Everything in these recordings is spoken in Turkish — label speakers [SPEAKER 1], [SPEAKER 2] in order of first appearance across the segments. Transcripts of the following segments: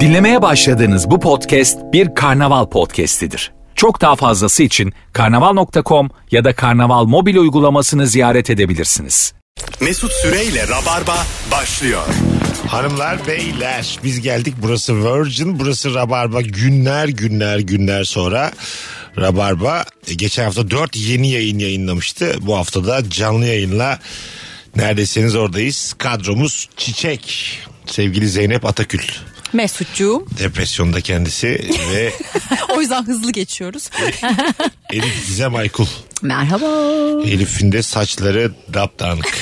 [SPEAKER 1] Dinlemeye başladığınız bu podcast bir karnaval podcastidir. Çok daha fazlası için karnaval.com ya da karnaval mobil uygulamasını ziyaret edebilirsiniz.
[SPEAKER 2] Mesut Süreyle Rabarba başlıyor.
[SPEAKER 3] Hanımlar beyler biz geldik burası Virgin burası Rabarba günler günler günler sonra Rabarba e, geçen hafta 4 yeni yayın yayınlamıştı bu hafta da canlı yayınla neredesiniz oradayız kadromuz Çiçek sevgili Zeynep Atakül
[SPEAKER 4] Mesutcuğum.
[SPEAKER 3] depresyonda kendisi ve
[SPEAKER 4] O yüzden hızlı geçiyoruz.
[SPEAKER 3] Elif Gizem Aykul
[SPEAKER 4] Merhaba.
[SPEAKER 3] Elif'in de saçları daptanık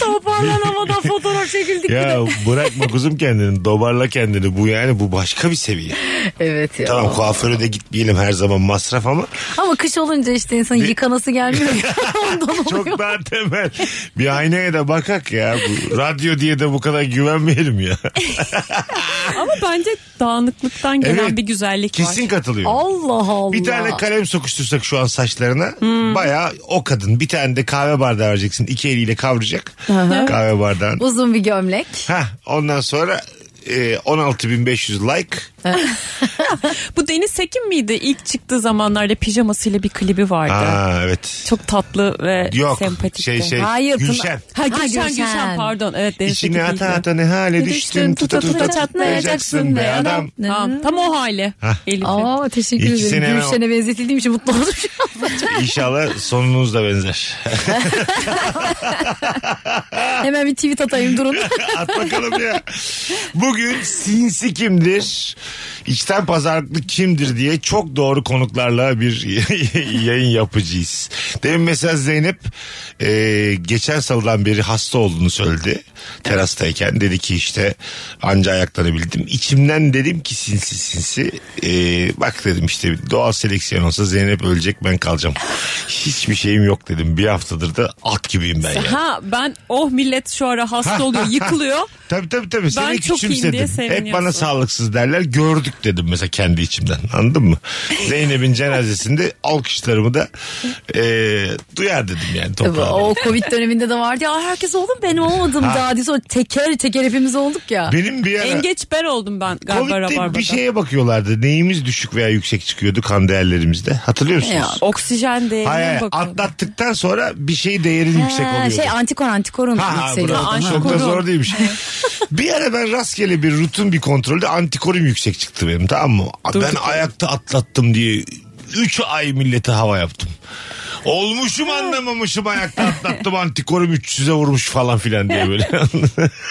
[SPEAKER 4] Toparlanamadan fotoğraf çekildik.
[SPEAKER 3] ya bırakma kuzum kendini dobarla kendini bu yani bu başka bir seviye
[SPEAKER 4] Evet ya.
[SPEAKER 3] tamam kuaföre de gitmeyelim her zaman masraf ama
[SPEAKER 4] Ama kış olunca işte insan yıkanası gelmiyor. Ondan oluyor.
[SPEAKER 3] Çok daha temel. Bir aynaya da bakak ya. Bu radyo diye de bu kadar güvenmeyelim ya.
[SPEAKER 5] Ama bence dağınıklıktan gelen
[SPEAKER 3] Evet.
[SPEAKER 5] bir güzellik
[SPEAKER 3] Kesin
[SPEAKER 5] var.
[SPEAKER 3] katılıyorum.
[SPEAKER 4] Allah Allah.
[SPEAKER 3] Bir tane kalem sokuştursak şu an saçlarına baya o kadın bir tane de kahve bardağı vereceksin. iki eliyle kavrayacak kahve bardağını.
[SPEAKER 4] Uzun bir gömlek.
[SPEAKER 3] Hah, ondan sonra e, 16.500 like.
[SPEAKER 5] Bu Deniz Sekin miydi? İlk çıktığı zamanlarda pijamasıyla bir klibi vardı.
[SPEAKER 3] Aa, evet.
[SPEAKER 5] Çok tatlı ve
[SPEAKER 3] Yok
[SPEAKER 5] sempatikti.
[SPEAKER 3] şey şey
[SPEAKER 4] Hayır, Tuna-
[SPEAKER 3] Gülşen.
[SPEAKER 5] Ha Gülşen,
[SPEAKER 4] Ha,
[SPEAKER 5] Gülşen pardon. Evet Deniz
[SPEAKER 3] İçine
[SPEAKER 5] Sekin
[SPEAKER 3] ata
[SPEAKER 5] değildi.
[SPEAKER 3] ata ne hale düştün tuta tuta çatlayacaksın be adam.
[SPEAKER 5] Tamam, tam o hali. Elif'in.
[SPEAKER 4] Aa teşekkür
[SPEAKER 3] İki sene
[SPEAKER 4] ederim. Gülşen'e benzetildiğim için mutlu oldum şu an.
[SPEAKER 3] İnşallah sonunuz da benzer.
[SPEAKER 4] Hemen bir tweet atayım durun.
[SPEAKER 3] At bakalım ya. Bugün sinsi kimdir? İçten pazarlıklı kimdir diye çok doğru konuklarla bir yayın yapacağız. Demin mesela Zeynep e, geçen salıdan beri hasta olduğunu söyledi. Terastayken dedi ki işte anca ayaklanabildim. İçimden dedim ki sinsi sinsi. e, bak dedim işte doğal seleksiyon olsa Zeynep ölecek ben kalacağım. Hiçbir şeyim yok dedim. Bir haftadır da at gibiyim ben ya.
[SPEAKER 5] Ha ben oh millet şu ara hasta oluyor yıkılıyor.
[SPEAKER 3] Tabii tabii tabii. Seni
[SPEAKER 5] Ben çok iyiyim diye
[SPEAKER 3] küçümsedim. Hep bana
[SPEAKER 5] seviniyorsun.
[SPEAKER 3] sağlıksız derler. Gördük dedim mesela kendi içimden. Anladın mı? Zeynep'in cenazesinde alkışlarımı da e, duyar dedim yani toprağa.
[SPEAKER 4] o Covid döneminde de vardı ya herkes oldu benim olmadım daha diye sonra teker teker hepimiz olduk ya.
[SPEAKER 3] Benim bir ara
[SPEAKER 5] en geç ben oldum ben galiba
[SPEAKER 3] Covid'de
[SPEAKER 5] Rabarba'da.
[SPEAKER 3] bir şey şeye bakıyorlardı. Neyimiz düşük veya yüksek çıkıyordu kan değerlerimizde. Hatırlıyor
[SPEAKER 4] Ya,
[SPEAKER 3] musunuz?
[SPEAKER 5] Oksijen
[SPEAKER 3] Hayır,
[SPEAKER 5] değerine
[SPEAKER 3] hayır.
[SPEAKER 5] bakın.
[SPEAKER 3] atlattıktan sonra bir şey değerin yüksek
[SPEAKER 4] Ha,
[SPEAKER 3] oluyordu.
[SPEAKER 4] Şey antikor antikorun
[SPEAKER 3] Ha, ha,
[SPEAKER 4] yükseliyordu.
[SPEAKER 3] bravo.
[SPEAKER 5] Ha,
[SPEAKER 3] Çok da
[SPEAKER 5] antikorun.
[SPEAKER 3] zor değilmiş. bir ara ben rastgele bir rutin bir kontrolde antikorum yüksek çıktı benim tamam mı? ben ayakta atlattım diye 3 ay millete hava yaptım. Olmuşum anlamamışım ayakta atlattım antikorum 300'e vurmuş falan filan diye böyle.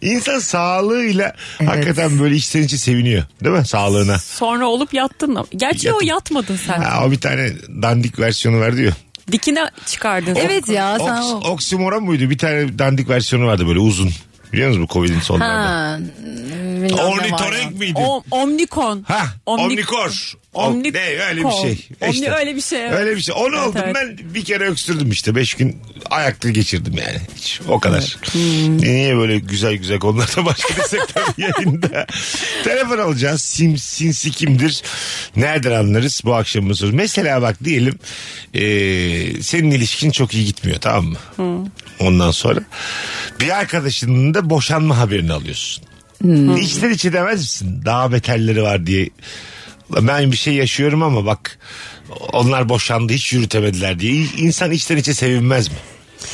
[SPEAKER 3] İnsan sağlığıyla hakikaten böyle içten içe seviniyor değil mi sağlığına?
[SPEAKER 5] Sonra olup yattın. ama- Gerçi o
[SPEAKER 3] Yattım.
[SPEAKER 5] yatmadın sen.
[SPEAKER 3] Ha, o bir tane dandik versiyonu var diyor.
[SPEAKER 5] Dikine çıkardın.
[SPEAKER 4] Evet ya sen
[SPEAKER 3] Oks-
[SPEAKER 4] o.
[SPEAKER 3] oksimoron muydu? Bir tane dandik versiyonu vardı böyle uzun. Biliyor musunuz bu Covid'in sonlarında?
[SPEAKER 4] Ha, bilmem ne var ya.
[SPEAKER 3] Ornitorenk miydi?
[SPEAKER 5] O- Omnikon.
[SPEAKER 3] Ha,
[SPEAKER 5] Omnik-
[SPEAKER 3] omnikor.
[SPEAKER 5] Omnik-
[SPEAKER 3] ne öyle bir şey.
[SPEAKER 5] Omni-
[SPEAKER 3] İşte.
[SPEAKER 5] öyle bir şey. evet.
[SPEAKER 3] Öyle bir şey. Onu
[SPEAKER 5] Evet,
[SPEAKER 3] oldum
[SPEAKER 5] evet.
[SPEAKER 3] ben bir kere öksürdüm işte. Beş gün ayakta geçirdim yani. Hiç, o kadar.
[SPEAKER 5] Hmm.
[SPEAKER 3] Niye böyle güzel güzel konularda başka desek tabii yayında. Telefon alacağız. Sim, sinsi kimdir? Nereden anlarız bu akşamın sorusu? Mesela bak diyelim eee, senin ilişkin çok iyi gitmiyor tamam mı?
[SPEAKER 5] Hmm.
[SPEAKER 3] Ondan sonra bir arkadaşının da boşanma haberini alıyorsun.
[SPEAKER 5] Hmm.
[SPEAKER 3] İçten içe demez misin? Daha beterleri var diye. Ulan Ben bir şey yaşıyorum ama bak onlar boşandı hiç yürütemediler diye. İnsan içten içe sevinmez mi?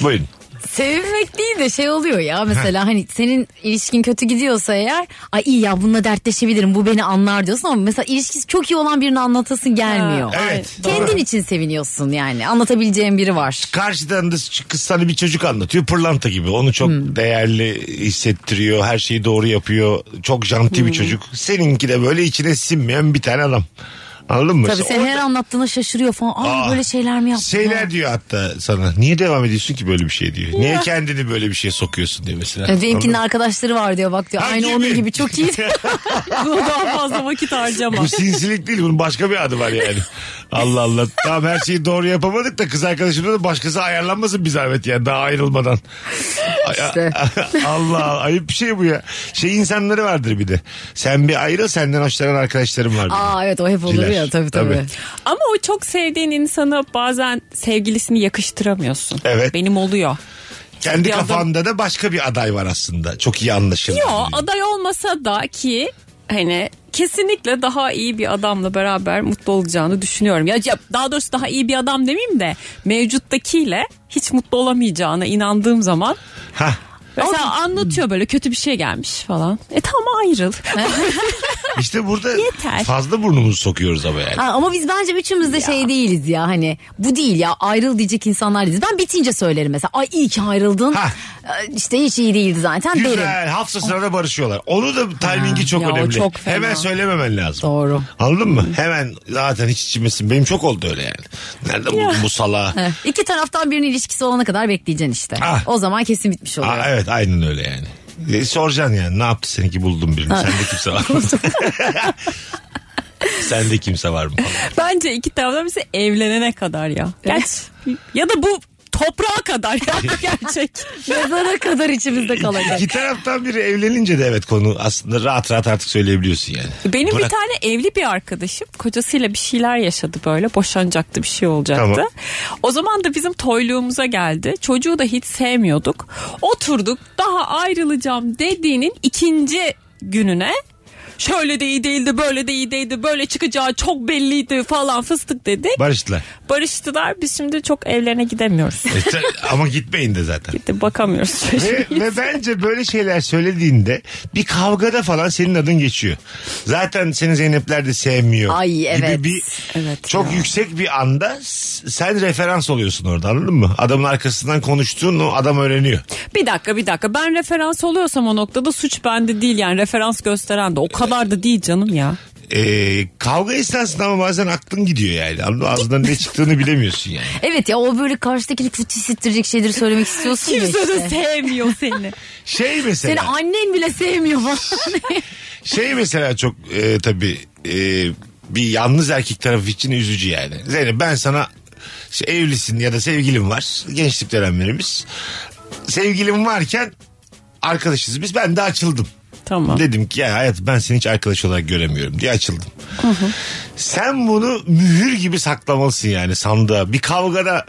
[SPEAKER 3] Buyurun.
[SPEAKER 4] Sevmek değil de şey oluyor ya mesela hani senin ilişkin kötü gidiyorsa eğer ay iyi ya bununla dertleşebilirim bu beni anlar diyorsun ama mesela ilişkisi çok iyi olan birini anlatasın gelmiyor.
[SPEAKER 5] Ha, ay,
[SPEAKER 3] Evet.
[SPEAKER 5] doğru.
[SPEAKER 4] Kendin için seviniyorsun yani anlatabileceğin biri var.
[SPEAKER 3] Karşıdan da kız sana bir çocuk anlatıyor pırlanta gibi. Onu çok
[SPEAKER 4] Hmm.
[SPEAKER 3] değerli hissettiriyor. Her şeyi doğru yapıyor. Çok janti
[SPEAKER 4] Hmm.
[SPEAKER 3] bir çocuk. Seninki de böyle içine sinmeyen bir tane adam. Anladın mı?
[SPEAKER 4] Tabii
[SPEAKER 3] İşte
[SPEAKER 4] sen
[SPEAKER 3] orada-
[SPEAKER 4] her anlattığına şaşırıyor falan. Ay
[SPEAKER 3] Aa,
[SPEAKER 4] böyle şeyler mi yaptın?
[SPEAKER 3] Şeyler diyor hatta sana. Niye devam ediyorsun ki böyle bir şey diyor. Niye kendini böyle bir şeye sokuyorsun diyor mesela.
[SPEAKER 4] E, Benimkinin
[SPEAKER 3] Anladın mı?
[SPEAKER 4] arkadaşları var diyor bak diyor.
[SPEAKER 3] Ha,
[SPEAKER 4] Aynı
[SPEAKER 3] gibi.
[SPEAKER 4] onun gibi çok iyi.
[SPEAKER 5] Buna daha fazla vakit harcama.
[SPEAKER 3] Bu sinsilik değil bunun başka bir adı var yani. Allah Allah. Tamam her şeyi doğru yapamadık da kız arkadaşımla da başkası ayarlanmasın bir zahmet yani daha ayrılmadan. Ay-
[SPEAKER 4] İşte.
[SPEAKER 3] Allah Allah, ayıp bir şey bu ya. Şey insanları vardır bir de. Sen bir ayrıl senden hoşlanan arkadaşlarım var. benim.
[SPEAKER 4] Aa evet o hep olur
[SPEAKER 3] Ciler.
[SPEAKER 4] ya tabii tabii.
[SPEAKER 3] Tabii.
[SPEAKER 5] Ama o çok sevdiğin insana bazen sevgilisini yakıştıramıyorsun.
[SPEAKER 3] Evet.
[SPEAKER 5] Benim oluyor.
[SPEAKER 3] Kendi
[SPEAKER 5] Bir adam-
[SPEAKER 3] kafanda da başka bir aday var aslında. Çok iyi anlaşılan.
[SPEAKER 5] Yo aday olmasa da ki hani kesinlikle daha iyi bir adamla beraber mutlu olacağını düşünüyorum. Ya, ya daha doğrusu daha iyi bir adam demeyeyim de mevcuttakiyle hiç mutlu olamayacağına inandığım zaman
[SPEAKER 3] Hah.
[SPEAKER 5] mesela anlatıyor böyle kötü bir şey gelmiş falan. E tamam ayrıl.
[SPEAKER 3] İşte burada
[SPEAKER 5] Yeter.
[SPEAKER 3] fazla burnumuzu sokuyoruz ama yani.
[SPEAKER 4] Ha, ama biz bence üçümüz de şey değiliz ya hani bu değil ya ayrıl diyecek insanlar değiliz. Ben bitince söylerim mesela ay iyi ki ayrıldın
[SPEAKER 3] Ha.
[SPEAKER 4] Ee, işte hiç iyi değildi zaten derim.
[SPEAKER 3] Güzel hafta sırada barışıyorlar. Onu da timingi çok
[SPEAKER 5] ya o
[SPEAKER 3] önemli.
[SPEAKER 5] çok fena.
[SPEAKER 3] Hemen söylememen lazım.
[SPEAKER 4] Doğru.
[SPEAKER 3] Anladın mı? Hemen zaten hiç içmesin. Benim çok oldu öyle yani. Nerede buldun bu salağı?
[SPEAKER 4] Heh, İki taraftan birinin ilişkisi olana kadar bekleyeceksin işte.
[SPEAKER 3] Ah.
[SPEAKER 4] O zaman kesin bitmiş oluyor.
[SPEAKER 3] Aa, evet aynen öyle yani. E, soracaksın yani ne yaptı seninki buldun birini. Sende kimse var mı? Sende kimse var mı? falan.
[SPEAKER 5] Bence iki taraftan bize evlenene kadar ya. Gerçi, ya da bu toprağa kadar ya gerçek.
[SPEAKER 4] Mezara kadar içimizde kalacak.
[SPEAKER 3] İki taraftan biri evlenince de evet konu aslında rahat rahat artık söyleyebiliyorsun yani.
[SPEAKER 5] Benim
[SPEAKER 3] Bırak-
[SPEAKER 5] bir tane evli bir arkadaşım kocasıyla bir şeyler yaşadı böyle boşanacaktı bir şey olacaktı.
[SPEAKER 3] Tamam.
[SPEAKER 5] O zaman da bizim toyluğumuza geldi. Çocuğu da hiç sevmiyorduk. Oturduk daha ayrılacağım dediğinin ikinci gününe şöyle de iyi değildi böyle de iyi değildi böyle çıkacağı çok belliydi falan fıstık dedik.
[SPEAKER 3] Barıştılar.
[SPEAKER 5] Barıştılar biz şimdi çok evlerine gidemiyoruz.
[SPEAKER 3] E, sen- ama gitmeyin de zaten.
[SPEAKER 5] De bakamıyoruz.
[SPEAKER 3] Ve, ve bence böyle şeyler söylediğinde bir kavgada falan senin adın geçiyor. Zaten seni Zeynepler de sevmiyor.
[SPEAKER 4] Ay, evet.
[SPEAKER 3] Gibi bir
[SPEAKER 5] Evet
[SPEAKER 3] çok yüksek bir anda s- sen referans oluyorsun orada anladın mı? Adamın arkasından konuştuğun o adam öğreniyor.
[SPEAKER 5] Bir dakika bir dakika ben referans oluyorsam o noktada suç bende değil yani referans gösteren de o kadar da değil canım ya.
[SPEAKER 3] Ee, kavga esnasında ama bazen aklın gidiyor yani. Anladın mı? Ağzından ne çıktığını bilemiyorsun yani.
[SPEAKER 4] Evet ya o böyle karşıdakini kötü hissettirecek şeyleri söylemek istiyorsun ya
[SPEAKER 5] Kimse de
[SPEAKER 4] işte.
[SPEAKER 5] sevmiyor seni.
[SPEAKER 3] Şey
[SPEAKER 4] Seni
[SPEAKER 3] mesela.
[SPEAKER 4] annen bile sevmiyor falan.
[SPEAKER 3] Şey mesela çok e, tabii e, bir yalnız erkek tarafı için üzücü yani. Zeynep ben sana işte evlisin ya da sevgilim var. Gençlik dönemlerimiz. Sevgilim varken arkadaşız biz. Ben de açıldım.
[SPEAKER 5] tamam.
[SPEAKER 3] Dedim ki ya hayat ben seni hiç arkadaş olarak göremiyorum diye açıldım. Sen bunu mühür gibi saklamalısın yani sandığa. Bir kavgada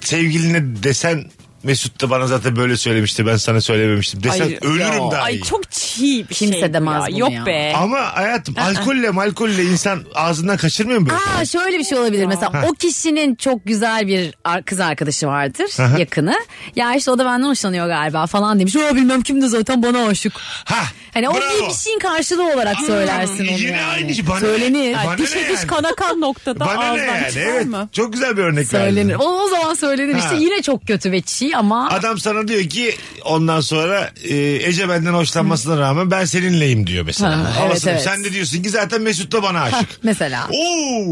[SPEAKER 3] sevgiline desen Mesut da bana zaten böyle söylemişti ben sana söylememiştim desen
[SPEAKER 5] Ay,
[SPEAKER 3] ölürüm
[SPEAKER 5] ya.
[SPEAKER 3] daha
[SPEAKER 5] Ay
[SPEAKER 3] iyi.
[SPEAKER 5] çok çiğ bir
[SPEAKER 4] Kimse
[SPEAKER 5] şey.
[SPEAKER 4] demez
[SPEAKER 5] ya.
[SPEAKER 4] bunu
[SPEAKER 5] Yok
[SPEAKER 4] ya.
[SPEAKER 5] be.
[SPEAKER 3] Ama hayatım alkolle malkolle insan ağzından kaçırmıyor mu böyle?
[SPEAKER 4] Aa şöyle bir şey olabilir mesela o kişinin çok güzel bir ar- kız arkadaşı vardır yakını. Ya işte o da benden hoşlanıyor galiba falan demiş. O bilmem kim de zaten bana aşık.
[SPEAKER 3] Ha,
[SPEAKER 4] Hani o
[SPEAKER 3] bravo.
[SPEAKER 4] bir, bir şeyin karşılığı olarak söylersin onu.
[SPEAKER 3] Yine
[SPEAKER 4] yani.
[SPEAKER 3] aynı şey. Bana-
[SPEAKER 4] Söylenir.
[SPEAKER 5] Ay,
[SPEAKER 3] Bana
[SPEAKER 5] dişe
[SPEAKER 3] ne
[SPEAKER 5] diş
[SPEAKER 3] yani?
[SPEAKER 5] kana kan noktada
[SPEAKER 3] Bana ne
[SPEAKER 5] ağızdan
[SPEAKER 3] yani?
[SPEAKER 5] çıkar
[SPEAKER 3] Evet.
[SPEAKER 5] mı?
[SPEAKER 3] Çok güzel bir örnek
[SPEAKER 4] Söylenir.
[SPEAKER 3] verdin.
[SPEAKER 4] O, o zaman söylenir
[SPEAKER 3] Ha.
[SPEAKER 4] işte yine çok kötü ve çiğ ama
[SPEAKER 3] Adam sana diyor ki ondan sonra e, Ece benden hoşlanmasına rağmen ben seninleyim diyor mesela.
[SPEAKER 4] Ha,
[SPEAKER 3] Ama
[SPEAKER 4] evet,
[SPEAKER 3] sen-
[SPEAKER 4] evet.
[SPEAKER 3] Sen de diyorsun ki zaten Mesut da bana aşık.
[SPEAKER 4] mesela.
[SPEAKER 3] Oo,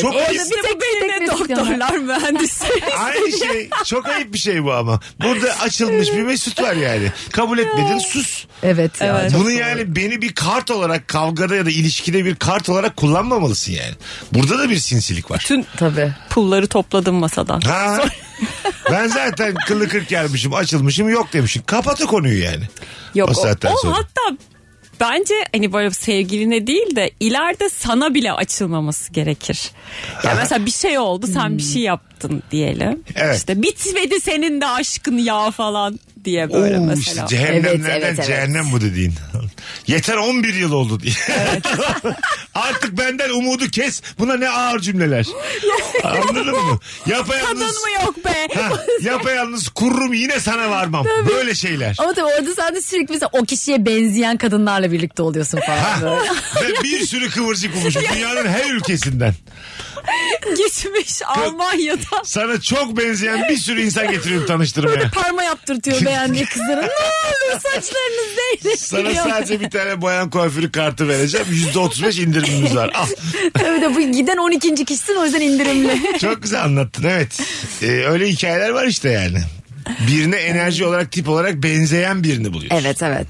[SPEAKER 3] Çok
[SPEAKER 4] Orada
[SPEAKER 3] ayıp.
[SPEAKER 4] bir tek
[SPEAKER 5] Yine
[SPEAKER 4] teknik
[SPEAKER 5] doktorlar mühendisler.
[SPEAKER 3] Aynı şey. Çok ayıp bir şey bu ama. Burada açılmış bir Mesut var yani. Kabul etmedin sus.
[SPEAKER 4] Evet. ya,
[SPEAKER 5] Evet.
[SPEAKER 4] çok
[SPEAKER 3] Bunu
[SPEAKER 4] doğru.
[SPEAKER 3] yani beni bir kart olarak kavgada ya da ilişkide bir kart olarak kullanmamalısın yani. Burada da bir sinsilik var.
[SPEAKER 5] Tüm
[SPEAKER 4] Tabii.
[SPEAKER 5] pulları topladım masadan.
[SPEAKER 3] Ha. ben zaten kılı kırk gelmişim açılmışım yok demişim. Kapat o konuyu yani.
[SPEAKER 5] Yok
[SPEAKER 3] o
[SPEAKER 5] o,
[SPEAKER 3] saatten
[SPEAKER 5] o
[SPEAKER 3] sonra.
[SPEAKER 5] hatta bence hani böyle sevgiline değil de ileride sana bile açılmaması gerekir. Ya mesela bir şey oldu sen bir şey yaptın diyelim.
[SPEAKER 3] Evet.
[SPEAKER 5] İşte bitmedi senin de aşkın ya falan diye böyle
[SPEAKER 3] Oo, işte
[SPEAKER 5] mesela.
[SPEAKER 3] cehennemlerden
[SPEAKER 4] Evet, evet, evet.
[SPEAKER 3] cehennem bu dediğin. Yeter 11 yıl oldu diye. Artık benden umudu kes. Buna ne ağır cümleler. Anladın mı? Yapayalnız,
[SPEAKER 5] Kadın mı yok be? E
[SPEAKER 3] Ha, yapayalnız kururum yine sana varmam. Böyle şeyler.
[SPEAKER 4] Ama tabii orada sen de sürekli mesela o kişiye benzeyen kadınlarla birlikte oluyorsun falan. böyle.
[SPEAKER 3] Ve bir sürü kıvırcık olmuş dünyanın her ülkesinden.
[SPEAKER 5] Geçmiş Almanya'da
[SPEAKER 3] Sana çok benzeyen bir sürü insan getiriyorum tanıştırmaya.
[SPEAKER 4] Parma yaptırtıyor beğendiği kızların. Ne olur saçlarınız değil.
[SPEAKER 3] Sana sadece bir tane bayan kuaförü kartı vereceğim. %35 indirimimiz var. Ah, Al.
[SPEAKER 4] Tabii de bu giden 12. kişisin o yüzden indirimli.
[SPEAKER 3] Çok güzel anlattın evet. Ee, öyle hikayeler var işte yani. Birine enerji olarak tip olarak benzeyen birini buluyorsun.
[SPEAKER 4] evet evet.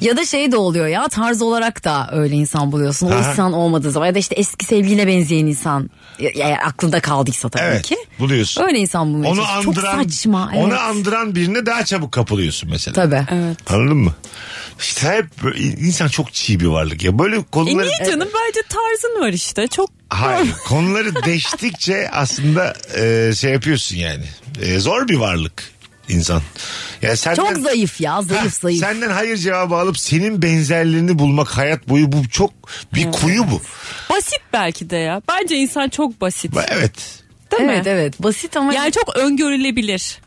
[SPEAKER 4] Ya da şey de oluyor ya tarz olarak da öyle insan buluyorsun. O
[SPEAKER 3] Aha.
[SPEAKER 4] insan olmadığı zaman ya da işte eski sevgiline benzeyen insan. Ya, ya aklında kaldıysa tabii
[SPEAKER 3] Evet,
[SPEAKER 4] ki.
[SPEAKER 3] buluyorsun.
[SPEAKER 4] Öyle insan bulmaya
[SPEAKER 3] Onu
[SPEAKER 4] çalışıyorsun.
[SPEAKER 3] andıran,
[SPEAKER 4] Çok saçma. Evet.
[SPEAKER 3] onu andıran birine daha çabuk kapılıyorsun mesela.
[SPEAKER 4] Tabii.
[SPEAKER 3] Anladın mı? İşte hep böyle- insan çok çiğ bir varlık ya. Böyle
[SPEAKER 5] E
[SPEAKER 3] konuları...
[SPEAKER 5] niye canım bence tarzın var işte çok
[SPEAKER 3] Hayır. konuları deştikçe aslında e, şey yapıyorsun yani. E, zor bir varlık. insan. Yani senden,
[SPEAKER 4] Çok zayıf ya zayıf
[SPEAKER 3] Heh,
[SPEAKER 4] zayıf.
[SPEAKER 3] Senden hayır cevabı alıp senin benzerlerini bulmak hayat boyu bu çok bir kuyu bu.
[SPEAKER 5] Basit belki de ya. Bence insan çok basit.
[SPEAKER 3] Ba- Evet.
[SPEAKER 5] Değil
[SPEAKER 4] evet
[SPEAKER 5] mi?
[SPEAKER 4] evet basit ama
[SPEAKER 5] Yani çok öngörülebilir.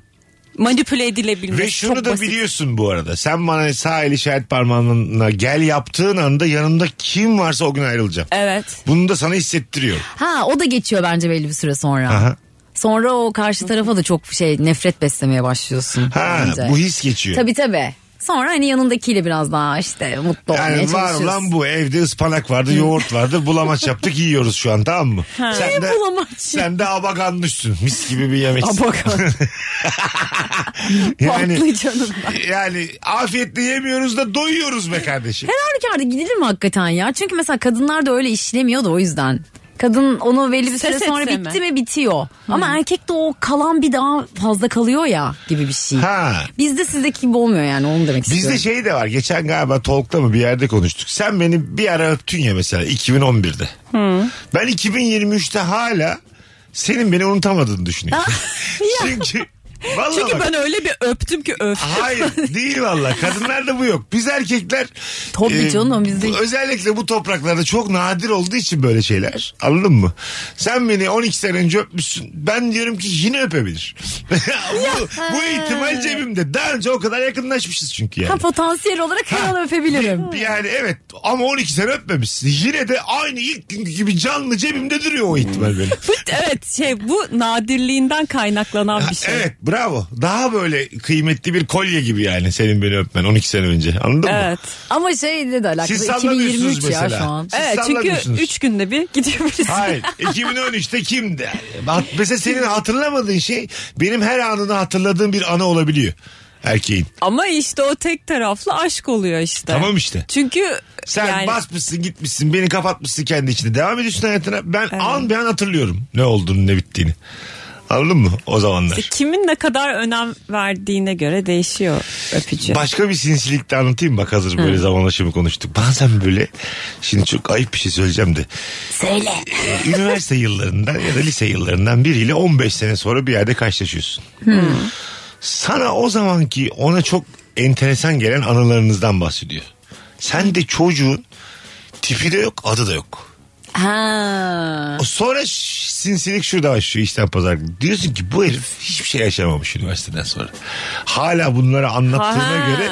[SPEAKER 5] Manipüle edilebilir.
[SPEAKER 3] Ve şunu
[SPEAKER 5] çok
[SPEAKER 3] da
[SPEAKER 5] basit.
[SPEAKER 3] biliyorsun bu arada. Sen bana sağ el işaret parmağına gel yaptığın anda yanında kim varsa o gün ayrılacağım.
[SPEAKER 5] Evet.
[SPEAKER 3] Bunu da sana hissettiriyorum.
[SPEAKER 4] ha o da geçiyor bence belli bir süre sonra.
[SPEAKER 3] Aha.
[SPEAKER 4] Sonra o karşı tarafa da çok şey nefret beslemeye başlıyorsun.
[SPEAKER 3] Ha,
[SPEAKER 4] bence.
[SPEAKER 3] bu his geçiyor.
[SPEAKER 4] Tabii tabii. Sonra hani yanındakiyle biraz daha işte mutlu olmaya
[SPEAKER 3] Yani var
[SPEAKER 4] çalışıyorsun.
[SPEAKER 3] lan bu evde ıspanak vardı yoğurt vardı bulamaç yaptık yiyoruz şu an tamam mı? Sen de,
[SPEAKER 5] bulamaç?
[SPEAKER 3] Sen de abaganmışsın mis gibi bir yemek. yani, yani afiyetle yemiyoruz da doyuyoruz be kardeşim.
[SPEAKER 4] Her halükarda gidilir mi hakikaten ya? Çünkü mesela kadınlar da öyle işlemiyor da o yüzden. Kadın onu belli bir süre
[SPEAKER 5] Ses
[SPEAKER 4] sonra
[SPEAKER 5] etse
[SPEAKER 4] bitti mi, bitiyor. Ama erkekte o kalan bir daha fazla kalıyor ya gibi bir şey.
[SPEAKER 3] Ha.
[SPEAKER 4] Bizde sizdeki gibi olmuyor yani onu demek
[SPEAKER 3] Bizde
[SPEAKER 4] istiyorum.
[SPEAKER 3] şey de var geçen galiba Tolk'ta mı bir yerde konuştuk. Sen beni bir ara öptün ya mesela 2011'de. Ben 2023'te hala senin beni unutamadığını düşünüyorum. Çünkü vallahi
[SPEAKER 5] Çünkü
[SPEAKER 3] bak-
[SPEAKER 5] ben öyle bir öptüm ki öptüm.
[SPEAKER 3] Hayır değil valla. Kadınlarda bu yok. Biz erkekler e,
[SPEAKER 4] Tabii canım, bizde-
[SPEAKER 3] bu- özellikle bu topraklarda çok nadir olduğu için böyle şeyler. Anladın mı? Sen beni 12 sene önce öpmüşsün. Ben diyorum ki yine öpebilir. bu, bu ihtimal cebimde. Daha önce o kadar yakınlaşmışız çünkü yani.
[SPEAKER 4] Ha, potansiyel olarak her an öpebilirim.
[SPEAKER 3] Yani evet ama 12 sene öpmemişsin. Yine de aynı ilk günkü gibi canlı cebimde duruyor o ihtimal benim.
[SPEAKER 5] Bu- evet şey bu nadirliğinden kaynaklanan bir şey.
[SPEAKER 3] Evet bravo. Daha böyle kıymetli bir kolye gibi yani senin beni öpmen 12 sene önce. Anladın mı?
[SPEAKER 5] Evet.
[SPEAKER 4] Ama şeyle de alakalı.
[SPEAKER 3] Siz sallamıyorsunuz
[SPEAKER 4] 2023 ya
[SPEAKER 3] mesela.
[SPEAKER 4] şu an.
[SPEAKER 3] Siz
[SPEAKER 5] evet çünkü
[SPEAKER 3] sallamıyorsunuz.
[SPEAKER 5] 3 günde bir gidiyor birisi.
[SPEAKER 3] Hayır. 2013'te kimdi? Hat- Mesela senin hatırlamadığın şey benim her anını hatırladığım bir ana olabiliyor. Erkeğin.
[SPEAKER 5] Ama işte o tek taraflı aşk oluyor işte.
[SPEAKER 3] Tamam işte.
[SPEAKER 5] Çünkü
[SPEAKER 3] Sen
[SPEAKER 5] yani
[SPEAKER 3] basmışsın gitmişsin beni kapatmışsın kendi içinde. Devam ediyorsun hayatına. Ben an be an hatırlıyorum ne olduğunu ne bittiğini. Anladın mı o zamanlar?
[SPEAKER 5] E, kimin ne kadar önem verdiğine göre değişiyor öpücü.
[SPEAKER 3] Başka bir sinsilik de anlatayım bak hazır böyle zamanlaşımı konuştuk. Bazen böyle şimdi çok ayıp bir şey söyleyeceğim de. Söyle. Üniversite yıllarından ya da lise yıllarından biriyle 15 sene sonra bir yerde karşılaşıyorsun. Sana o zamanki ona çok enteresan gelen anılarınızdan bahsediyor. Sen de çocuğun tipi de yok adı da yok.
[SPEAKER 4] Ha.
[SPEAKER 3] Sonra ş- sinsilik şurada başlıyor işten pazar. günü. Diyorsun ki bu herif hiçbir şey yaşamamış üniversiteden sonra. Hala bunları anlattığına
[SPEAKER 5] Aha.
[SPEAKER 3] göre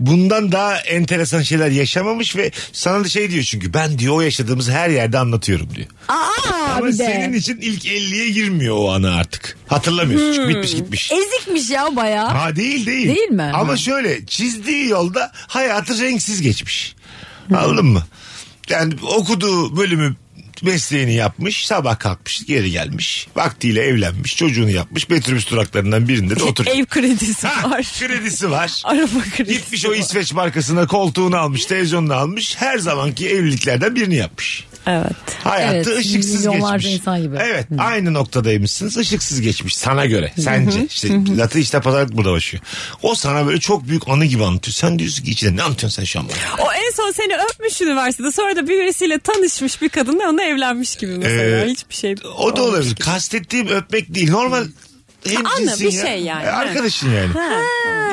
[SPEAKER 3] bundan daha enteresan şeyler yaşamamış ve sana da şey diyor çünkü ben diyor o yaşadığımız her yerde anlatıyorum diyor.
[SPEAKER 4] Aa
[SPEAKER 3] Ama
[SPEAKER 4] bir de.
[SPEAKER 3] senin için ilk 50'ye girmiyor o anı artık. Hatırlamıyorsun çünkü bitmiş gitmiş.
[SPEAKER 4] Ezikmiş ya bayağı.
[SPEAKER 3] Ha değil değil.
[SPEAKER 4] Değil mi?
[SPEAKER 3] Ama
[SPEAKER 4] Ha.
[SPEAKER 3] şöyle çizdiği yolda hayatı renksiz geçmiş. Anladın mı? Yani okuduğu bölümü mesleğini yapmış, sabah kalkmış, geri gelmiş. Vaktiyle evlenmiş, çocuğunu yapmış. Metrobüs duraklarından birinde de oturuyor.
[SPEAKER 5] E, Ev kredisi
[SPEAKER 3] Ha,
[SPEAKER 5] var.
[SPEAKER 3] Kredisi var.
[SPEAKER 5] Araba kredisi
[SPEAKER 3] Gitmiş o
[SPEAKER 5] var.
[SPEAKER 3] İsveç markasına koltuğunu almış, televizyonunu almış. Her zamanki evliliklerden birini yapmış.
[SPEAKER 5] Evet.
[SPEAKER 3] Hayatı
[SPEAKER 4] Evet,
[SPEAKER 3] ışıksız
[SPEAKER 4] milyonlarca
[SPEAKER 3] geçmiş.
[SPEAKER 4] insan gibi.
[SPEAKER 3] Evet aynı noktadaymışsınız ışıksız geçmiş sana göre sence. işte latı işte pazarlık burada başlıyor. O sana böyle çok büyük anı gibi anlatıyor. Sen diyorsun ki içinde ne anlatıyorsun sen şu an bana?
[SPEAKER 5] O en son seni öpmüş üniversitede sonra da birisiyle tanışmış bir kadınla onunla evlenmiş gibi mesela.
[SPEAKER 3] Ee,
[SPEAKER 5] Hiçbir şey.
[SPEAKER 3] O da
[SPEAKER 5] olmamış
[SPEAKER 3] olabilir.
[SPEAKER 5] gibi.
[SPEAKER 3] Kastettiğim öpmek değil normal hemcinsin
[SPEAKER 5] Anı, bir
[SPEAKER 3] ya.
[SPEAKER 5] şey yani.
[SPEAKER 3] E, arkadaşın yani.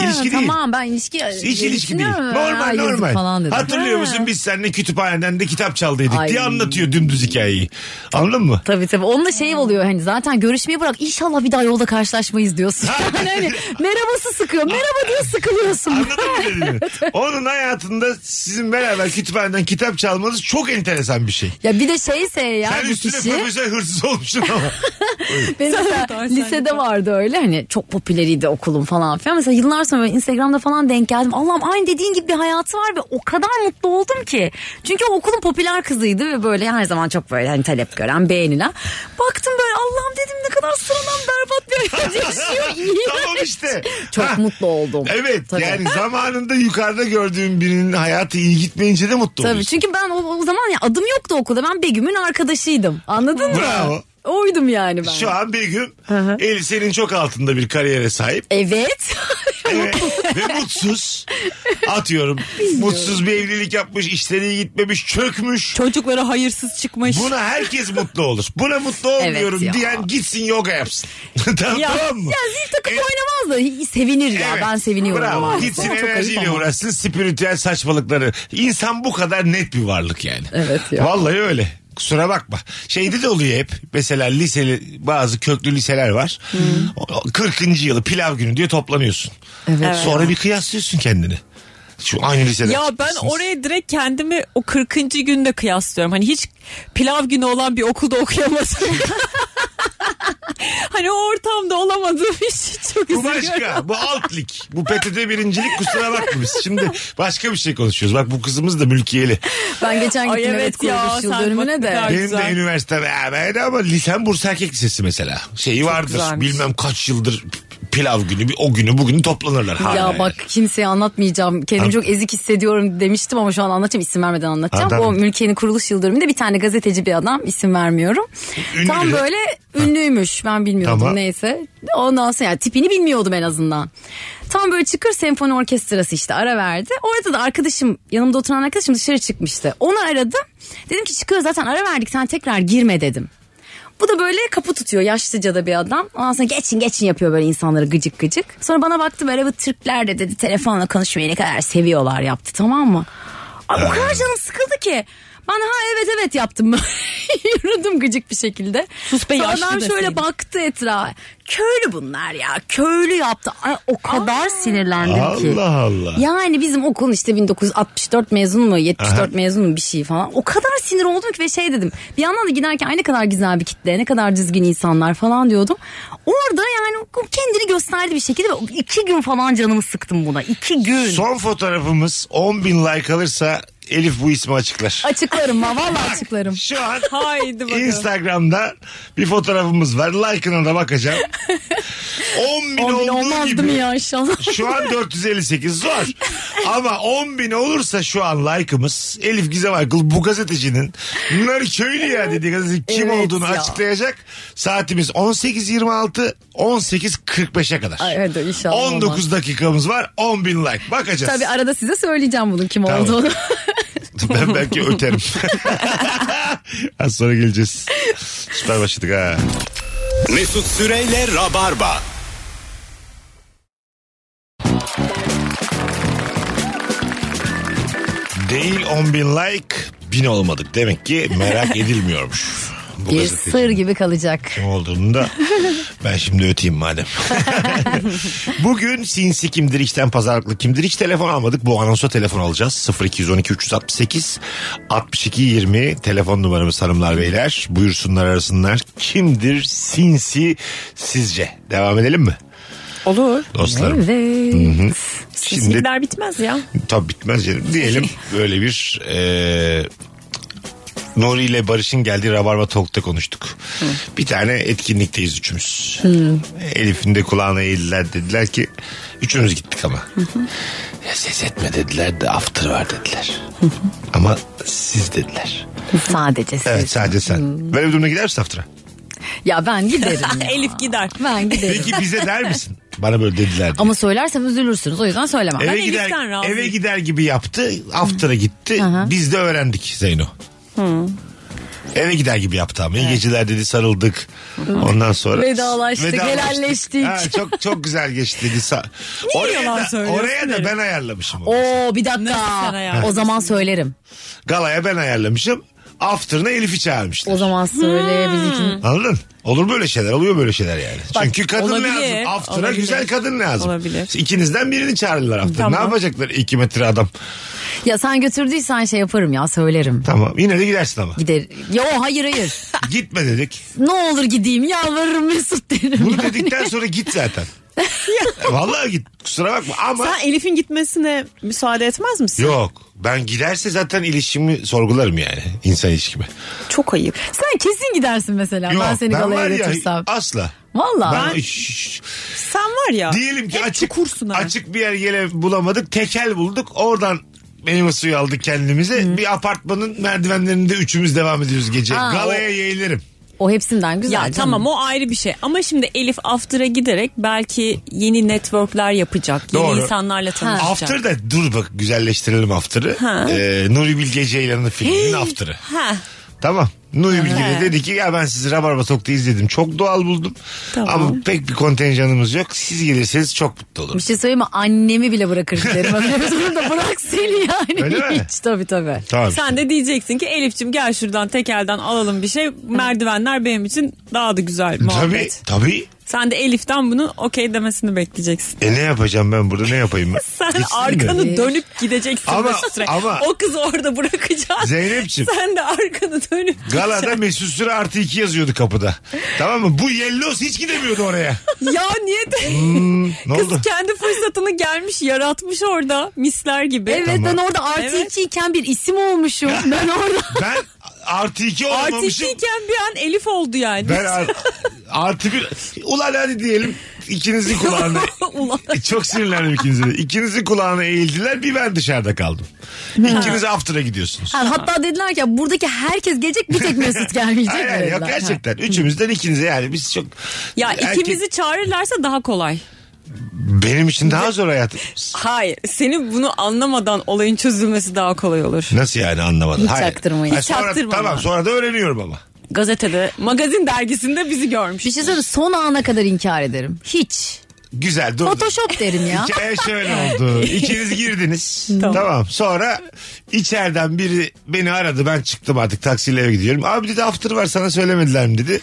[SPEAKER 3] İlişki değil.
[SPEAKER 4] Tamam ben ilişki
[SPEAKER 3] Hiç ilişki değil.
[SPEAKER 4] düşünüyorum.
[SPEAKER 3] Normal
[SPEAKER 4] Ha, yazık
[SPEAKER 3] normal.
[SPEAKER 4] Falan dedim.
[SPEAKER 3] Hatırlıyor
[SPEAKER 4] Ha.
[SPEAKER 3] musun biz seninle kütüphaneden de kitap çaldıydık
[SPEAKER 4] Ay.
[SPEAKER 3] diye anlatıyor dümdüz hikayeyi. Anladın mı?
[SPEAKER 4] Tabii tabii. Onunla şey oluyor hani zaten görüşmeyi bırak inşallah bir daha yolda karşılaşmayız diyorsun. Yani hani merhabası sıkıyor. Merhaba diye sıkılıyorsun.
[SPEAKER 3] Anladın mı dediğimi? Onun hayatında sizin beraber kütüphaneden kitap çalmanız çok enteresan bir şey.
[SPEAKER 4] Ya bir de şeyse ya
[SPEAKER 3] Sen
[SPEAKER 4] bu
[SPEAKER 3] üstüne
[SPEAKER 4] kişi.
[SPEAKER 3] profesör hırsız olmuşsun ama.
[SPEAKER 4] Benim
[SPEAKER 5] Sen
[SPEAKER 4] mesela
[SPEAKER 5] de doğru, sen
[SPEAKER 4] lisede
[SPEAKER 5] de.
[SPEAKER 4] vardı öyle hani çok popüleriydi okulum falan filan. Mesela yıllar sonra böyle Instagram'da falan denk geldim. Allah'ım aynı dediğin gibi bir hayatı var ve o kadar mutlu oldum ki. Çünkü o okulun popüler kızıydı ve böyle her zaman çok böyle hani talep gören beğenilen. Baktım böyle Allah'ım dedim ne kadar sıradan berbat bir hayat yaşıyor. İğrenç.
[SPEAKER 3] tamam işte.
[SPEAKER 4] Çok
[SPEAKER 3] Ha.
[SPEAKER 4] mutlu oldum.
[SPEAKER 3] Evet
[SPEAKER 4] Tabii.
[SPEAKER 3] yani zamanında yukarıda gördüğün birinin hayatı iyi gitmeyince de mutlu
[SPEAKER 4] Tabii
[SPEAKER 3] oluyorsun.
[SPEAKER 4] çünkü ben o, o zaman ya adım yoktu okulda. Ben Begüm'ün arkadaşıydım. Anladın mı?
[SPEAKER 3] Bravo.
[SPEAKER 4] Oydum yani ben.
[SPEAKER 3] Şu an Begüm Elise'nin çok altında bir kariyere sahip.
[SPEAKER 4] Evet.
[SPEAKER 3] Evet. ve mutsuz. Atıyorum. Mutsuz bir evlilik yapmış, işleri iyi gitmemiş, çökmüş.
[SPEAKER 5] Çocuklara hayırsız çıkmış.
[SPEAKER 3] Buna herkes mutlu olur. Buna mutlu olmuyorum
[SPEAKER 4] ya.
[SPEAKER 3] diyen gitsin yoga yapsın. tamam,
[SPEAKER 5] Ya-
[SPEAKER 3] tamam mı?
[SPEAKER 4] ya zil takıp
[SPEAKER 3] Evet.
[SPEAKER 4] oynamaz da sevinir ya.
[SPEAKER 3] E, Evet.
[SPEAKER 4] Ben seviniyorum.
[SPEAKER 3] Bravo.
[SPEAKER 4] Ama
[SPEAKER 3] Gitsin
[SPEAKER 4] çok ayıp
[SPEAKER 3] enerjiyle
[SPEAKER 4] ama.
[SPEAKER 3] uğraşsın spiritüel saçmalıkları. İnsan bu kadar net bir varlık yani.
[SPEAKER 4] Evet ya.
[SPEAKER 3] Vallahi öyle. Kusura bakma. Şeyde de oluyor hep. Mesela liseli bazı köklü liseler var. O- o 40. yılı pilav günü diye toplanıyorsun. Sonra bir kıyaslıyorsun kendini. Şu aynı lisede.
[SPEAKER 5] Ya ben oraya direkt kendimi o 40. günde kıyaslıyorum. Hani hiç pilav günü olan bir okulda okuyamadım. hani o ortamda olamadığım için çok
[SPEAKER 3] Bu
[SPEAKER 5] üzülüyorum.
[SPEAKER 3] başka. Bu alt lig. Bu PTT birincilik kusura bakma biz. Şimdi başka bir şey konuşuyoruz. Bak bu kızımız da mülkiyeli.
[SPEAKER 4] Ben geçen
[SPEAKER 5] Ay
[SPEAKER 4] gittim evet,
[SPEAKER 5] evet ya,
[SPEAKER 4] kuruluş yıl
[SPEAKER 5] sen
[SPEAKER 4] dönümüne
[SPEAKER 5] bak-
[SPEAKER 4] de.
[SPEAKER 5] Ya-
[SPEAKER 3] Benim
[SPEAKER 5] güzel.
[SPEAKER 3] de üniversite beraber ama lisem Bursa Erkek Lisesi mesela. Şeyi vardır.
[SPEAKER 5] güzelmiş.
[SPEAKER 3] Bilmem kaç yıldır pilav günü, bir o günü bugünü toplanırlar. hala
[SPEAKER 4] Ya
[SPEAKER 3] yani.
[SPEAKER 4] bak kimseye anlatmayacağım. Kendimi çok ezik hissediyorum demiştim ama şu an anlatacağım. isim vermeden anlatacağım.
[SPEAKER 3] Adam-
[SPEAKER 4] O mülkiyenin kuruluş yıl dönümünde bir tane gazeteci bir adam isim vermiyorum.
[SPEAKER 3] Ünlü
[SPEAKER 4] Tam
[SPEAKER 3] biri.
[SPEAKER 4] böyle ünlüymüş. Ben bilmiyordum
[SPEAKER 3] Tamam.
[SPEAKER 4] neyse. Ondan sonra yani tipini bilmiyordum en azından. Tam böyle çıkır senfoni orkestrası işte ara verdi. Orada da arkadaşım yanımda oturan arkadaşım dışarı çıkmıştı. Onu aradım. Dedim ki çıkıyoruz zaten ara verdik sen tekrar girme dedim. Bu da böyle kapı tutuyor yaşlıca da bir adam. Ondan sonra geçin geçin yapıyor böyle insanları gıcık gıcık. Sonra bana baktı böyle bu Türkler de dedi telefonla konuşmayı ne kadar seviyorlar yaptı tamam mı? Abi o
[SPEAKER 3] Ee.
[SPEAKER 4] kadar canım sıkıldı ki. Ben ha evet evet yaptım. Yürüdüm gıcık bir şekilde.
[SPEAKER 5] Sus be
[SPEAKER 4] Sonra
[SPEAKER 5] yaşlı
[SPEAKER 4] adam şöyle
[SPEAKER 5] deseydin.
[SPEAKER 4] baktı etrafa. Köylü bunlar ya. Köylü yaptı. Ay, o kadar sinirlendim ki.
[SPEAKER 3] Allah Allah.
[SPEAKER 4] Yani bizim okulun işte 1964 mezun mu 74 mezun mu bir şey falan. O kadar sinir oldum ki ve şey dedim. Bir yandan da giderken aynı kadar güzel bir kitle ne kadar düzgün insanlar falan diyordum. Orada yani kendini gösterdi bir şekilde ve iki gün falan canımı sıktım buna. iki gün.
[SPEAKER 3] Son fotoğrafımız 10 bin like alırsa Elif bu ismi açıklar.
[SPEAKER 4] Açıklarım ha valla açıklarım.
[SPEAKER 3] Şu an
[SPEAKER 5] Haydi bakalım.
[SPEAKER 3] Instagram'da bir fotoğrafımız var. Like'ına da bakacağım. 10 bin,
[SPEAKER 4] 10 bin
[SPEAKER 3] olduğu
[SPEAKER 4] olmazdı mı
[SPEAKER 3] gibi.
[SPEAKER 4] ya inşallah?
[SPEAKER 3] Şu an 458 zor. Ama 10 bin olursa şu an like'ımız Elif Gizem Aykul bu gazetecinin bunlar köylü ya dediği gazeteci kim
[SPEAKER 4] Evet
[SPEAKER 3] olduğunu
[SPEAKER 4] ya.
[SPEAKER 3] açıklayacak. Saatimiz 18.26 18.45'e kadar.
[SPEAKER 4] Ay, hadi inşallah
[SPEAKER 3] 19 dakikamız var 10 bin like bakacağız.
[SPEAKER 4] Tabii arada size söyleyeceğim bunun kim
[SPEAKER 3] Tamam.
[SPEAKER 4] olduğunu.
[SPEAKER 3] Ben belki öterim. Az sonra geleceğiz. Süper başladık ha.
[SPEAKER 2] Mesut Süreyle Rabarba.
[SPEAKER 3] Değil 10 bin like bin olmadık. Demek ki merak edilmiyormuş. Bu
[SPEAKER 4] bir
[SPEAKER 3] gazeteci.
[SPEAKER 4] sır gibi kalacak.
[SPEAKER 3] kim olduğunu da ben şimdi öteyim madem. Bugün sinsi kimdir içten pazarlıklı kimdir hiç telefon almadık. Bu anonsa telefon alacağız. 0212 368 62 20 telefon numaramız hanımlar beyler. Buyursunlar arasınlar. Kimdir sinsi sizce? Devam edelim mi?
[SPEAKER 5] Olur.
[SPEAKER 3] Dostlarım.
[SPEAKER 4] Evet.
[SPEAKER 3] Şimdi
[SPEAKER 5] Sinirler bitmez ya.
[SPEAKER 3] Tabii bitmez canım. Diyelim böyle bir e, Nuri ile Barış'ın geldiği Rabarba Talk'ta konuştuk. Bir tane etkinlikteyiz üçümüz. Elif'in de kulağına eğildiler dediler ki üçümüz gittik ama. Ya ses etme dediler de after var dediler. ama siz dediler.
[SPEAKER 4] Sadece siz.
[SPEAKER 3] Evet sadece sen. Böyle bir durumda gider misin after'a?
[SPEAKER 4] Ya ben giderim ya.
[SPEAKER 5] Elif gider.
[SPEAKER 4] Ben giderim.
[SPEAKER 3] Peki bize der misin? Bana böyle dediler diye.
[SPEAKER 4] Ama söylersem üzülürsünüz. O yüzden söylemem.
[SPEAKER 3] Eve
[SPEAKER 5] Ben
[SPEAKER 3] gider,
[SPEAKER 5] Elif'ten razıyım.
[SPEAKER 3] eve gider gibi yaptı. After'a gitti. Biz de öğrendik Zeyno. Eve gider gibi yaptı ama. İyi geceler dedi sarıldık. Ondan sonra.
[SPEAKER 4] Vedalaştık, helalleştik.
[SPEAKER 3] Ha, çok çok güzel geçti dedi. Sa-
[SPEAKER 5] yalan
[SPEAKER 3] oraya, da,
[SPEAKER 5] söylüyorsun
[SPEAKER 3] oraya da
[SPEAKER 5] herif?
[SPEAKER 3] ben ayarlamışım. onu.
[SPEAKER 4] Oo bir
[SPEAKER 5] Nasıl
[SPEAKER 4] dakika.
[SPEAKER 5] sen ya?
[SPEAKER 4] O zaman söylerim.
[SPEAKER 3] Galaya ben ayarlamışım. After'ına Elif'i çağırmışlar.
[SPEAKER 4] O zaman söyleyebilirim.
[SPEAKER 3] Anladın? Olur böyle şeyler. Oluyor böyle şeyler yani. Çünkü kadın
[SPEAKER 5] olabilir,
[SPEAKER 3] lazım. After'a
[SPEAKER 5] olabilir.
[SPEAKER 3] güzel kadın lazım.
[SPEAKER 5] Olabilir.
[SPEAKER 3] İkinizden birini çağırırlar after. Ne
[SPEAKER 5] Tamam.
[SPEAKER 3] yapacaklar iki metre adam?
[SPEAKER 4] Ya sen götürdüysen şey yaparım ya söylerim.
[SPEAKER 3] Tamam. Yine de gidersin ama.
[SPEAKER 4] Gider. Yo hayır hayır.
[SPEAKER 3] Gitme dedik.
[SPEAKER 4] ne olur gideyim yalvarırım Mesut derim.
[SPEAKER 3] Bunu
[SPEAKER 4] yani.
[SPEAKER 3] dedikten sonra git zaten. Vallahi git. Kusura bakma ama
[SPEAKER 6] Sen Elif'in gitmesine müsaade etmez misin?
[SPEAKER 3] yok. Ben giderse zaten ilişkimi sorgularım yani. insan ilişkimi.
[SPEAKER 6] Çok ayıp.
[SPEAKER 4] Sen kesin gidersin mesela.
[SPEAKER 3] Yok,
[SPEAKER 4] ben seni galaya
[SPEAKER 3] var ya,
[SPEAKER 4] götürsem.
[SPEAKER 3] Asla.
[SPEAKER 4] Valla.
[SPEAKER 3] Ben, Şşş.
[SPEAKER 6] Sen var ya.
[SPEAKER 3] diyelim ki
[SPEAKER 6] hep
[SPEAKER 3] açık,
[SPEAKER 6] çukursun ha.
[SPEAKER 3] açık bir yer yere bulamadık. Tekel bulduk. Oradan meyve suyu aldık kendimize. Bir apartmanın merdivenlerinde üçümüz devam ediyoruz gece.
[SPEAKER 4] Aa,
[SPEAKER 3] Galaya yayılırım.
[SPEAKER 4] O hepsinden güzel.
[SPEAKER 5] Ya
[SPEAKER 4] canım.
[SPEAKER 5] tamam o ayrı bir şey ama şimdi Elif After'a giderek belki yeni networkler yapacak. Yeni
[SPEAKER 3] Doğru.
[SPEAKER 5] insanlarla tanışacak.
[SPEAKER 3] After da dur bak güzelleştirelim After'ı.
[SPEAKER 5] Ha.
[SPEAKER 3] Ee, Nuri Bilge Ceylan'ın filminin After'ı.
[SPEAKER 5] Ha.
[SPEAKER 3] Tamam. Nuri Bilge de dedi ki ya ben sizi Rabarba Tok'ta izledim. Çok doğal buldum.
[SPEAKER 5] Tamam.
[SPEAKER 3] Ama pek bir kontenjanımız yok. Siz gelirseniz çok mutlu
[SPEAKER 4] Bir
[SPEAKER 3] olurum.
[SPEAKER 4] şey söyleyeyim mi? Annemi bile bırakır derim. Bunu da bırak seni yani.
[SPEAKER 3] Öyle mi?
[SPEAKER 4] Hiç tabii tabii.
[SPEAKER 3] Tamam.
[SPEAKER 5] Sen de diyeceksin ki Elif'cim gel şuradan tekelden alalım bir şey. Merdivenler benim için daha da güzel
[SPEAKER 3] Tabii,
[SPEAKER 5] muhabbet.
[SPEAKER 3] tabii.
[SPEAKER 5] Sen de Elif'ten bunun okey demesini bekleyeceksin.
[SPEAKER 3] E ne yapacağım ben burada ne yapayım ben?
[SPEAKER 5] Sen
[SPEAKER 3] Gitsin mi?
[SPEAKER 5] arkanı dönüp gideceksin
[SPEAKER 3] Ama-
[SPEAKER 5] Mesut Süre.
[SPEAKER 3] ama-
[SPEAKER 5] O kızı orada bırakacaksın.
[SPEAKER 3] Zeynep'ciğim.
[SPEAKER 5] Sen de arkanı dönüp
[SPEAKER 3] Galada Mesut Süre artı iki yazıyordu kapıda. Tamam mı? Bu Yellos hiç gidemiyordu oraya.
[SPEAKER 5] Ya niye de...
[SPEAKER 3] Ne
[SPEAKER 5] Kız
[SPEAKER 3] oldu?
[SPEAKER 5] kendi fırsatını gelmiş yaratmış orada misler gibi.
[SPEAKER 4] Evet ben orada artı
[SPEAKER 5] Evet.
[SPEAKER 4] ikiyken bir isim olmuşum. ben orada.
[SPEAKER 3] Ben artı iki olmamışım.
[SPEAKER 5] Artistiyken bir an Elif oldu yani.
[SPEAKER 3] Ben ar- artı bir... Ulan hadi diyelim ikinizin kulağına...
[SPEAKER 5] Ulan.
[SPEAKER 3] Çok sinirlendim ikinize de. İkinizin kulağına eğildiler bir ben dışarıda kaldım. İkiniz after'a gidiyorsunuz.
[SPEAKER 4] Ha, hatta dediler ki buradaki herkes gelecek bir tek Mesut gelmeyecek.
[SPEAKER 3] Hayır, hayır, yok
[SPEAKER 4] dediler.
[SPEAKER 3] gerçekten. Üçümüzden ikinize yani biz çok...
[SPEAKER 5] Ya
[SPEAKER 3] Erkek-
[SPEAKER 5] ikimizi çağırırlarsa daha kolay.
[SPEAKER 3] Benim için daha zor hayatım.
[SPEAKER 5] Hayır. Senin bunu anlamadan olayın çözülmesi daha kolay olur.
[SPEAKER 3] Nasıl yani anlamadım.
[SPEAKER 4] Hiç
[SPEAKER 3] Hayır.
[SPEAKER 4] çaktırmayın.
[SPEAKER 3] Hayır, sonra-
[SPEAKER 5] Çaktırma.
[SPEAKER 3] Tamam sonra da öğreniyorum ama.
[SPEAKER 5] Gazetede, magazin dergisinde bizi görmüş.
[SPEAKER 4] Bir şey söyleyeyim mi? son ana kadar inkar ederim. Hiç.
[SPEAKER 3] Güzel dur.
[SPEAKER 4] Photoshop derim ya.
[SPEAKER 3] Hikaye e, şöyle oldu. İkiniz girdiniz. tamam. Sonra içeriden biri beni aradı. Ben çıktım artık taksiyle eve gidiyorum. Abi dedi after var sana söylemediler mi dedi.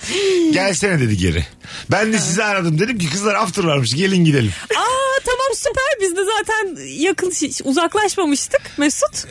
[SPEAKER 3] Gelsene dedi geri. Ben de sizi aradım dedim ki kızlar after varmış gelin gidelim.
[SPEAKER 5] Aa tamam süper biz de zaten yakın şi- uzaklaşmamıştık Mesut.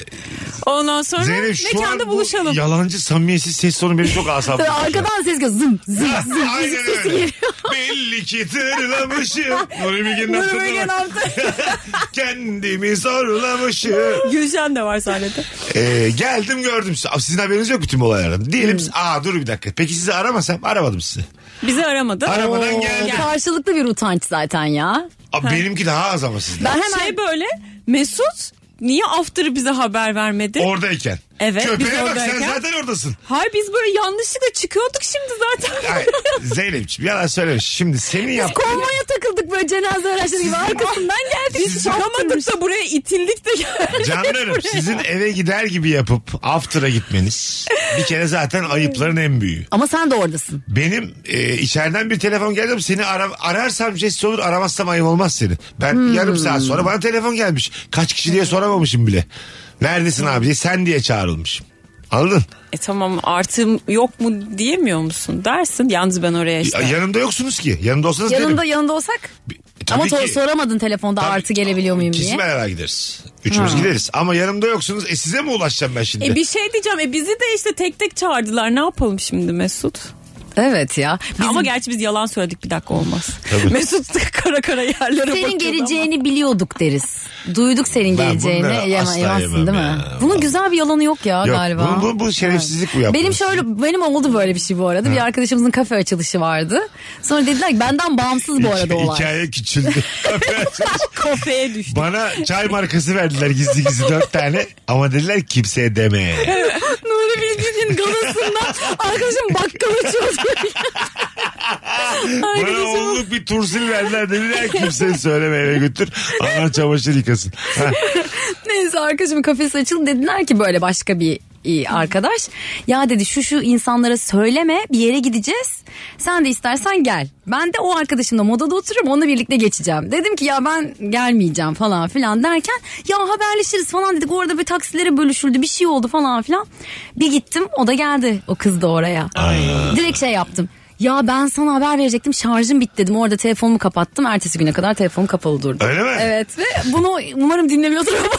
[SPEAKER 5] Ondan sonra
[SPEAKER 3] Zeynep şu an
[SPEAKER 5] mekanda
[SPEAKER 3] bu
[SPEAKER 5] buluşalım.
[SPEAKER 3] yalancı samimiyetsiz ses tonu beni çok asap.
[SPEAKER 4] Tabii arkadan ses geliyor. Zım zım zım.
[SPEAKER 3] Aynen öyle. Belli ki tırlamışım. Nuri Bilge'nin
[SPEAKER 5] Nuri
[SPEAKER 3] aklına
[SPEAKER 5] Bilge'nin
[SPEAKER 3] bak.
[SPEAKER 5] altı.
[SPEAKER 3] Kendimi zorlamışım.
[SPEAKER 5] Gülşen de var sahnede.
[SPEAKER 3] Ee, geldim gördüm sizi. Abi Sizin haberiniz yok bütün bu
[SPEAKER 5] Hmm.
[SPEAKER 3] olaylardan. Diyelim siz- aa dur bir dakika. Peki sizi aramasam aramadım sizi.
[SPEAKER 5] Bizi aramadı.
[SPEAKER 3] Aramadan geldim.
[SPEAKER 4] Karşılıklı bir utanç zaten ya.
[SPEAKER 3] Aa, benimki daha az ama sizden.
[SPEAKER 4] Ben hemen
[SPEAKER 5] Şey böyle Mesut niye after'ı bize haber vermedi?
[SPEAKER 3] Oradayken.
[SPEAKER 5] Evet,
[SPEAKER 3] Köpeğe
[SPEAKER 5] biz
[SPEAKER 3] bak sen
[SPEAKER 5] oradayken.
[SPEAKER 3] zaten oradasın.
[SPEAKER 5] Hayır biz böyle yanlışlıkla çıkıyorduk şimdi zaten.
[SPEAKER 3] Ay, Zeynep'ciğim yalan söylemiş. Şimdi senin yap.
[SPEAKER 4] konvoya takıldık böyle cenaze araçları gibi arkasından geldik.
[SPEAKER 5] Biz çıkamadık da buraya itildik de geldik.
[SPEAKER 3] Canlarım sizin eve gider gibi yapıp after'a gitmeniz bir kere zaten ayıpların en büyüğü.
[SPEAKER 4] Ama sen de oradasın.
[SPEAKER 3] Benim e, içeriden bir telefon geldi ama seni ara- ararsam jest olur aramazsam ayıp olmaz seni. Ben
[SPEAKER 4] Hmm.
[SPEAKER 3] yarım saat sonra bana telefon gelmiş. Kaç kişi diye soramamışım bile. Neredesin abi diye sen diye çağrılmışım. Anladın?
[SPEAKER 5] E tamam artım yok mu diyemiyor musun dersin. Yalnız ben oraya
[SPEAKER 3] Ya,
[SPEAKER 5] işte.
[SPEAKER 3] yanımda yoksunuz ki. Yanımda olsanız
[SPEAKER 4] Yanında
[SPEAKER 3] derim.
[SPEAKER 4] yanında olsak.
[SPEAKER 3] E, tabii
[SPEAKER 4] Ama to-
[SPEAKER 3] ki.
[SPEAKER 4] soramadın telefonda
[SPEAKER 3] Tabii.
[SPEAKER 4] artı gelebiliyor muyum diye.
[SPEAKER 3] Kesin beraber gideriz. Üçümüz gideriz. Ama yanımda yoksunuz. E size mi ulaşacağım ben şimdi?
[SPEAKER 5] E bir şey diyeceğim. E bizi de işte tek tek çağırdılar. Ne yapalım şimdi Mesut?
[SPEAKER 4] Evet ya. Bizim-
[SPEAKER 5] Ama gerçi biz yalan söyledik bir dakika olmaz.
[SPEAKER 3] Tabii.
[SPEAKER 5] Mesut kara kara yerlere
[SPEAKER 4] senin
[SPEAKER 5] bakıyordu ama.
[SPEAKER 4] geleceğini biliyorduk deriz. Duyduk senin
[SPEAKER 3] şey Ben
[SPEAKER 4] geleceğini.
[SPEAKER 3] bunları
[SPEAKER 4] Yem-
[SPEAKER 3] asla
[SPEAKER 4] yemezsin
[SPEAKER 3] yemem
[SPEAKER 4] değil mi?
[SPEAKER 3] ya.
[SPEAKER 4] Bunun güzel bir yalanı yok ya
[SPEAKER 3] Yok,
[SPEAKER 4] galiba.
[SPEAKER 3] bu- bu- bu şerefsizlik bu
[SPEAKER 4] Evet.
[SPEAKER 3] yaptığınız.
[SPEAKER 4] Benim şöyle benim oldu böyle bir şey bu arada. Bir arkadaşımızın kafe açılışı vardı. Sonra dediler ki benden bağımsız bu arada
[SPEAKER 3] Hikaye-
[SPEAKER 4] olay.
[SPEAKER 3] Hikaye küçüldü.
[SPEAKER 5] Kafeye düştü.
[SPEAKER 3] Bana çay markası verdiler gizli gizli dört tane. Ama dediler kimseye deme.
[SPEAKER 5] Nuri Bilge'nin galasında arkadaşım bakkal açıyordu.
[SPEAKER 3] Bana onluk bir tursil verdiler dediler kimseye söyleme eve götür. Anan çamaşır yıkasın. Ha,
[SPEAKER 4] Neyse arkadaşımın kafesi açıldı dediler ki böyle başka bir e, arkadaş. Ya dedi şu şu insanlara söyleme bir yere gideceğiz. Sen de istersen gel. Ben de o arkadaşımla modada oturuyorum onunla birlikte geçeceğim. Dedim ki ya ben gelmeyeceğim falan filan derken ya haberleşiriz falan dedik. Orada bir taksilere bölüşüldü bir şey oldu falan filan. Bir gittim o da geldi o kız da oraya. Direkt şey yaptım. Ya ben sana haber verecektim şarjım bitti dedim. Orada telefonumu kapattım. Ertesi güne kadar telefonum kapalı durdu.
[SPEAKER 3] Öyle mi?
[SPEAKER 4] Evet ve bunu umarım dinlemiyordur ama.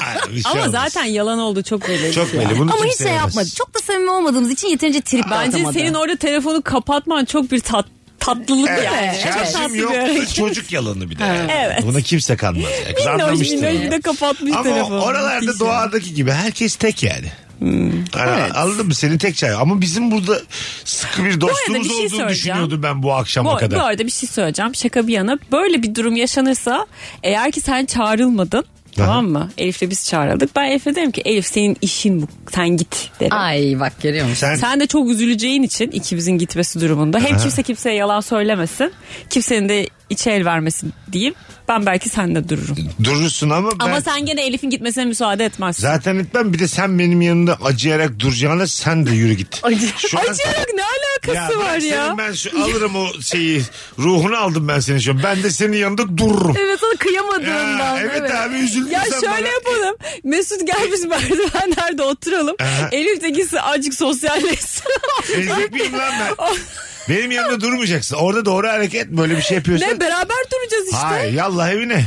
[SPEAKER 3] ha, bir şey
[SPEAKER 5] Ama
[SPEAKER 3] olmaz.
[SPEAKER 5] zaten yalan oldu çok belli.
[SPEAKER 3] çok belli. Bunu
[SPEAKER 4] Ama
[SPEAKER 3] kimse
[SPEAKER 4] hiç şey
[SPEAKER 3] yapmaz.
[SPEAKER 4] yapmadı. Çok da samimi olmadığımız için yeterince trip de
[SPEAKER 5] Bence
[SPEAKER 4] atamadı.
[SPEAKER 5] senin orada telefonu kapatman çok bir tat, tatlılık
[SPEAKER 3] Evet, şey
[SPEAKER 5] yani. Çok tatlı
[SPEAKER 3] Şarjım
[SPEAKER 5] bir
[SPEAKER 3] yoktu
[SPEAKER 5] hareket.
[SPEAKER 3] çocuk yalanı bir de. yani.
[SPEAKER 5] Evet.
[SPEAKER 3] Buna kimse kanmaz. Ya. Kız
[SPEAKER 5] Minnoş
[SPEAKER 3] anlamıştır
[SPEAKER 5] minnoş
[SPEAKER 3] yani.
[SPEAKER 5] bir de kapatmış
[SPEAKER 3] Ama
[SPEAKER 5] telefonu.
[SPEAKER 3] oralarda
[SPEAKER 5] Müthiş ya.
[SPEAKER 3] doğadaki gibi herkes tek yani.
[SPEAKER 5] Hmm.
[SPEAKER 3] Ara, Anladın mı? Senin tek çay. Ama bizim burada sıkı bir dostluğumuz
[SPEAKER 5] bir şey
[SPEAKER 3] olduğunu
[SPEAKER 5] söyleyeceğim.
[SPEAKER 3] düşünüyordum ben bu akşama
[SPEAKER 5] Bu,
[SPEAKER 3] kadar.
[SPEAKER 5] bu arada bir şey söyleyeceğim şaka bir yana. Böyle bir durum yaşanırsa eğer ki sen çağrılmadın Tamam mı? Elif'le biz çağrıldık. Ben Elif'e dedim ki Elif senin işin bu. Sen git dedim.
[SPEAKER 4] Ay bak görüyor musun?
[SPEAKER 3] Sen,
[SPEAKER 5] Sen de çok üzüleceğin için ikimizin gitmesi durumunda. Hem kimse kimseye yalan söylemesin. Kimsenin de içe el vermesin diyeyim. Ben belki sende dururum.
[SPEAKER 3] durursun ama ben
[SPEAKER 5] Ama sen gene Elif'in gitmesine müsaade etmezsin.
[SPEAKER 3] zaten etmem. Bir de sen benim yanımda acıyarak duracağına sen de yürü git. Şu an-
[SPEAKER 5] Acıyarak ne alakası
[SPEAKER 3] ben
[SPEAKER 5] var ya?
[SPEAKER 3] senin- ben şu alırım o şeyi. Ruhunu aldım ben senin şu an. Ben de senin yanında dururum.
[SPEAKER 4] Evet sana
[SPEAKER 3] Ya,
[SPEAKER 4] kıyamadığından.
[SPEAKER 3] evet, abi üzüldün
[SPEAKER 5] Ya
[SPEAKER 3] sen
[SPEAKER 5] şöyle
[SPEAKER 3] bana.
[SPEAKER 5] yapalım. Mesut gel biz merdivenlerde oturalım.
[SPEAKER 3] Aha.
[SPEAKER 5] Elif de gitsin azıcık sosyalleşsin.
[SPEAKER 3] Ezik miyim lan ben? Benim yanımda durmayacaksın. Orada doğru hareket böyle bir şey yapıyorsan.
[SPEAKER 5] ne beraber duracağız işte.
[SPEAKER 3] Hayır yallah evine.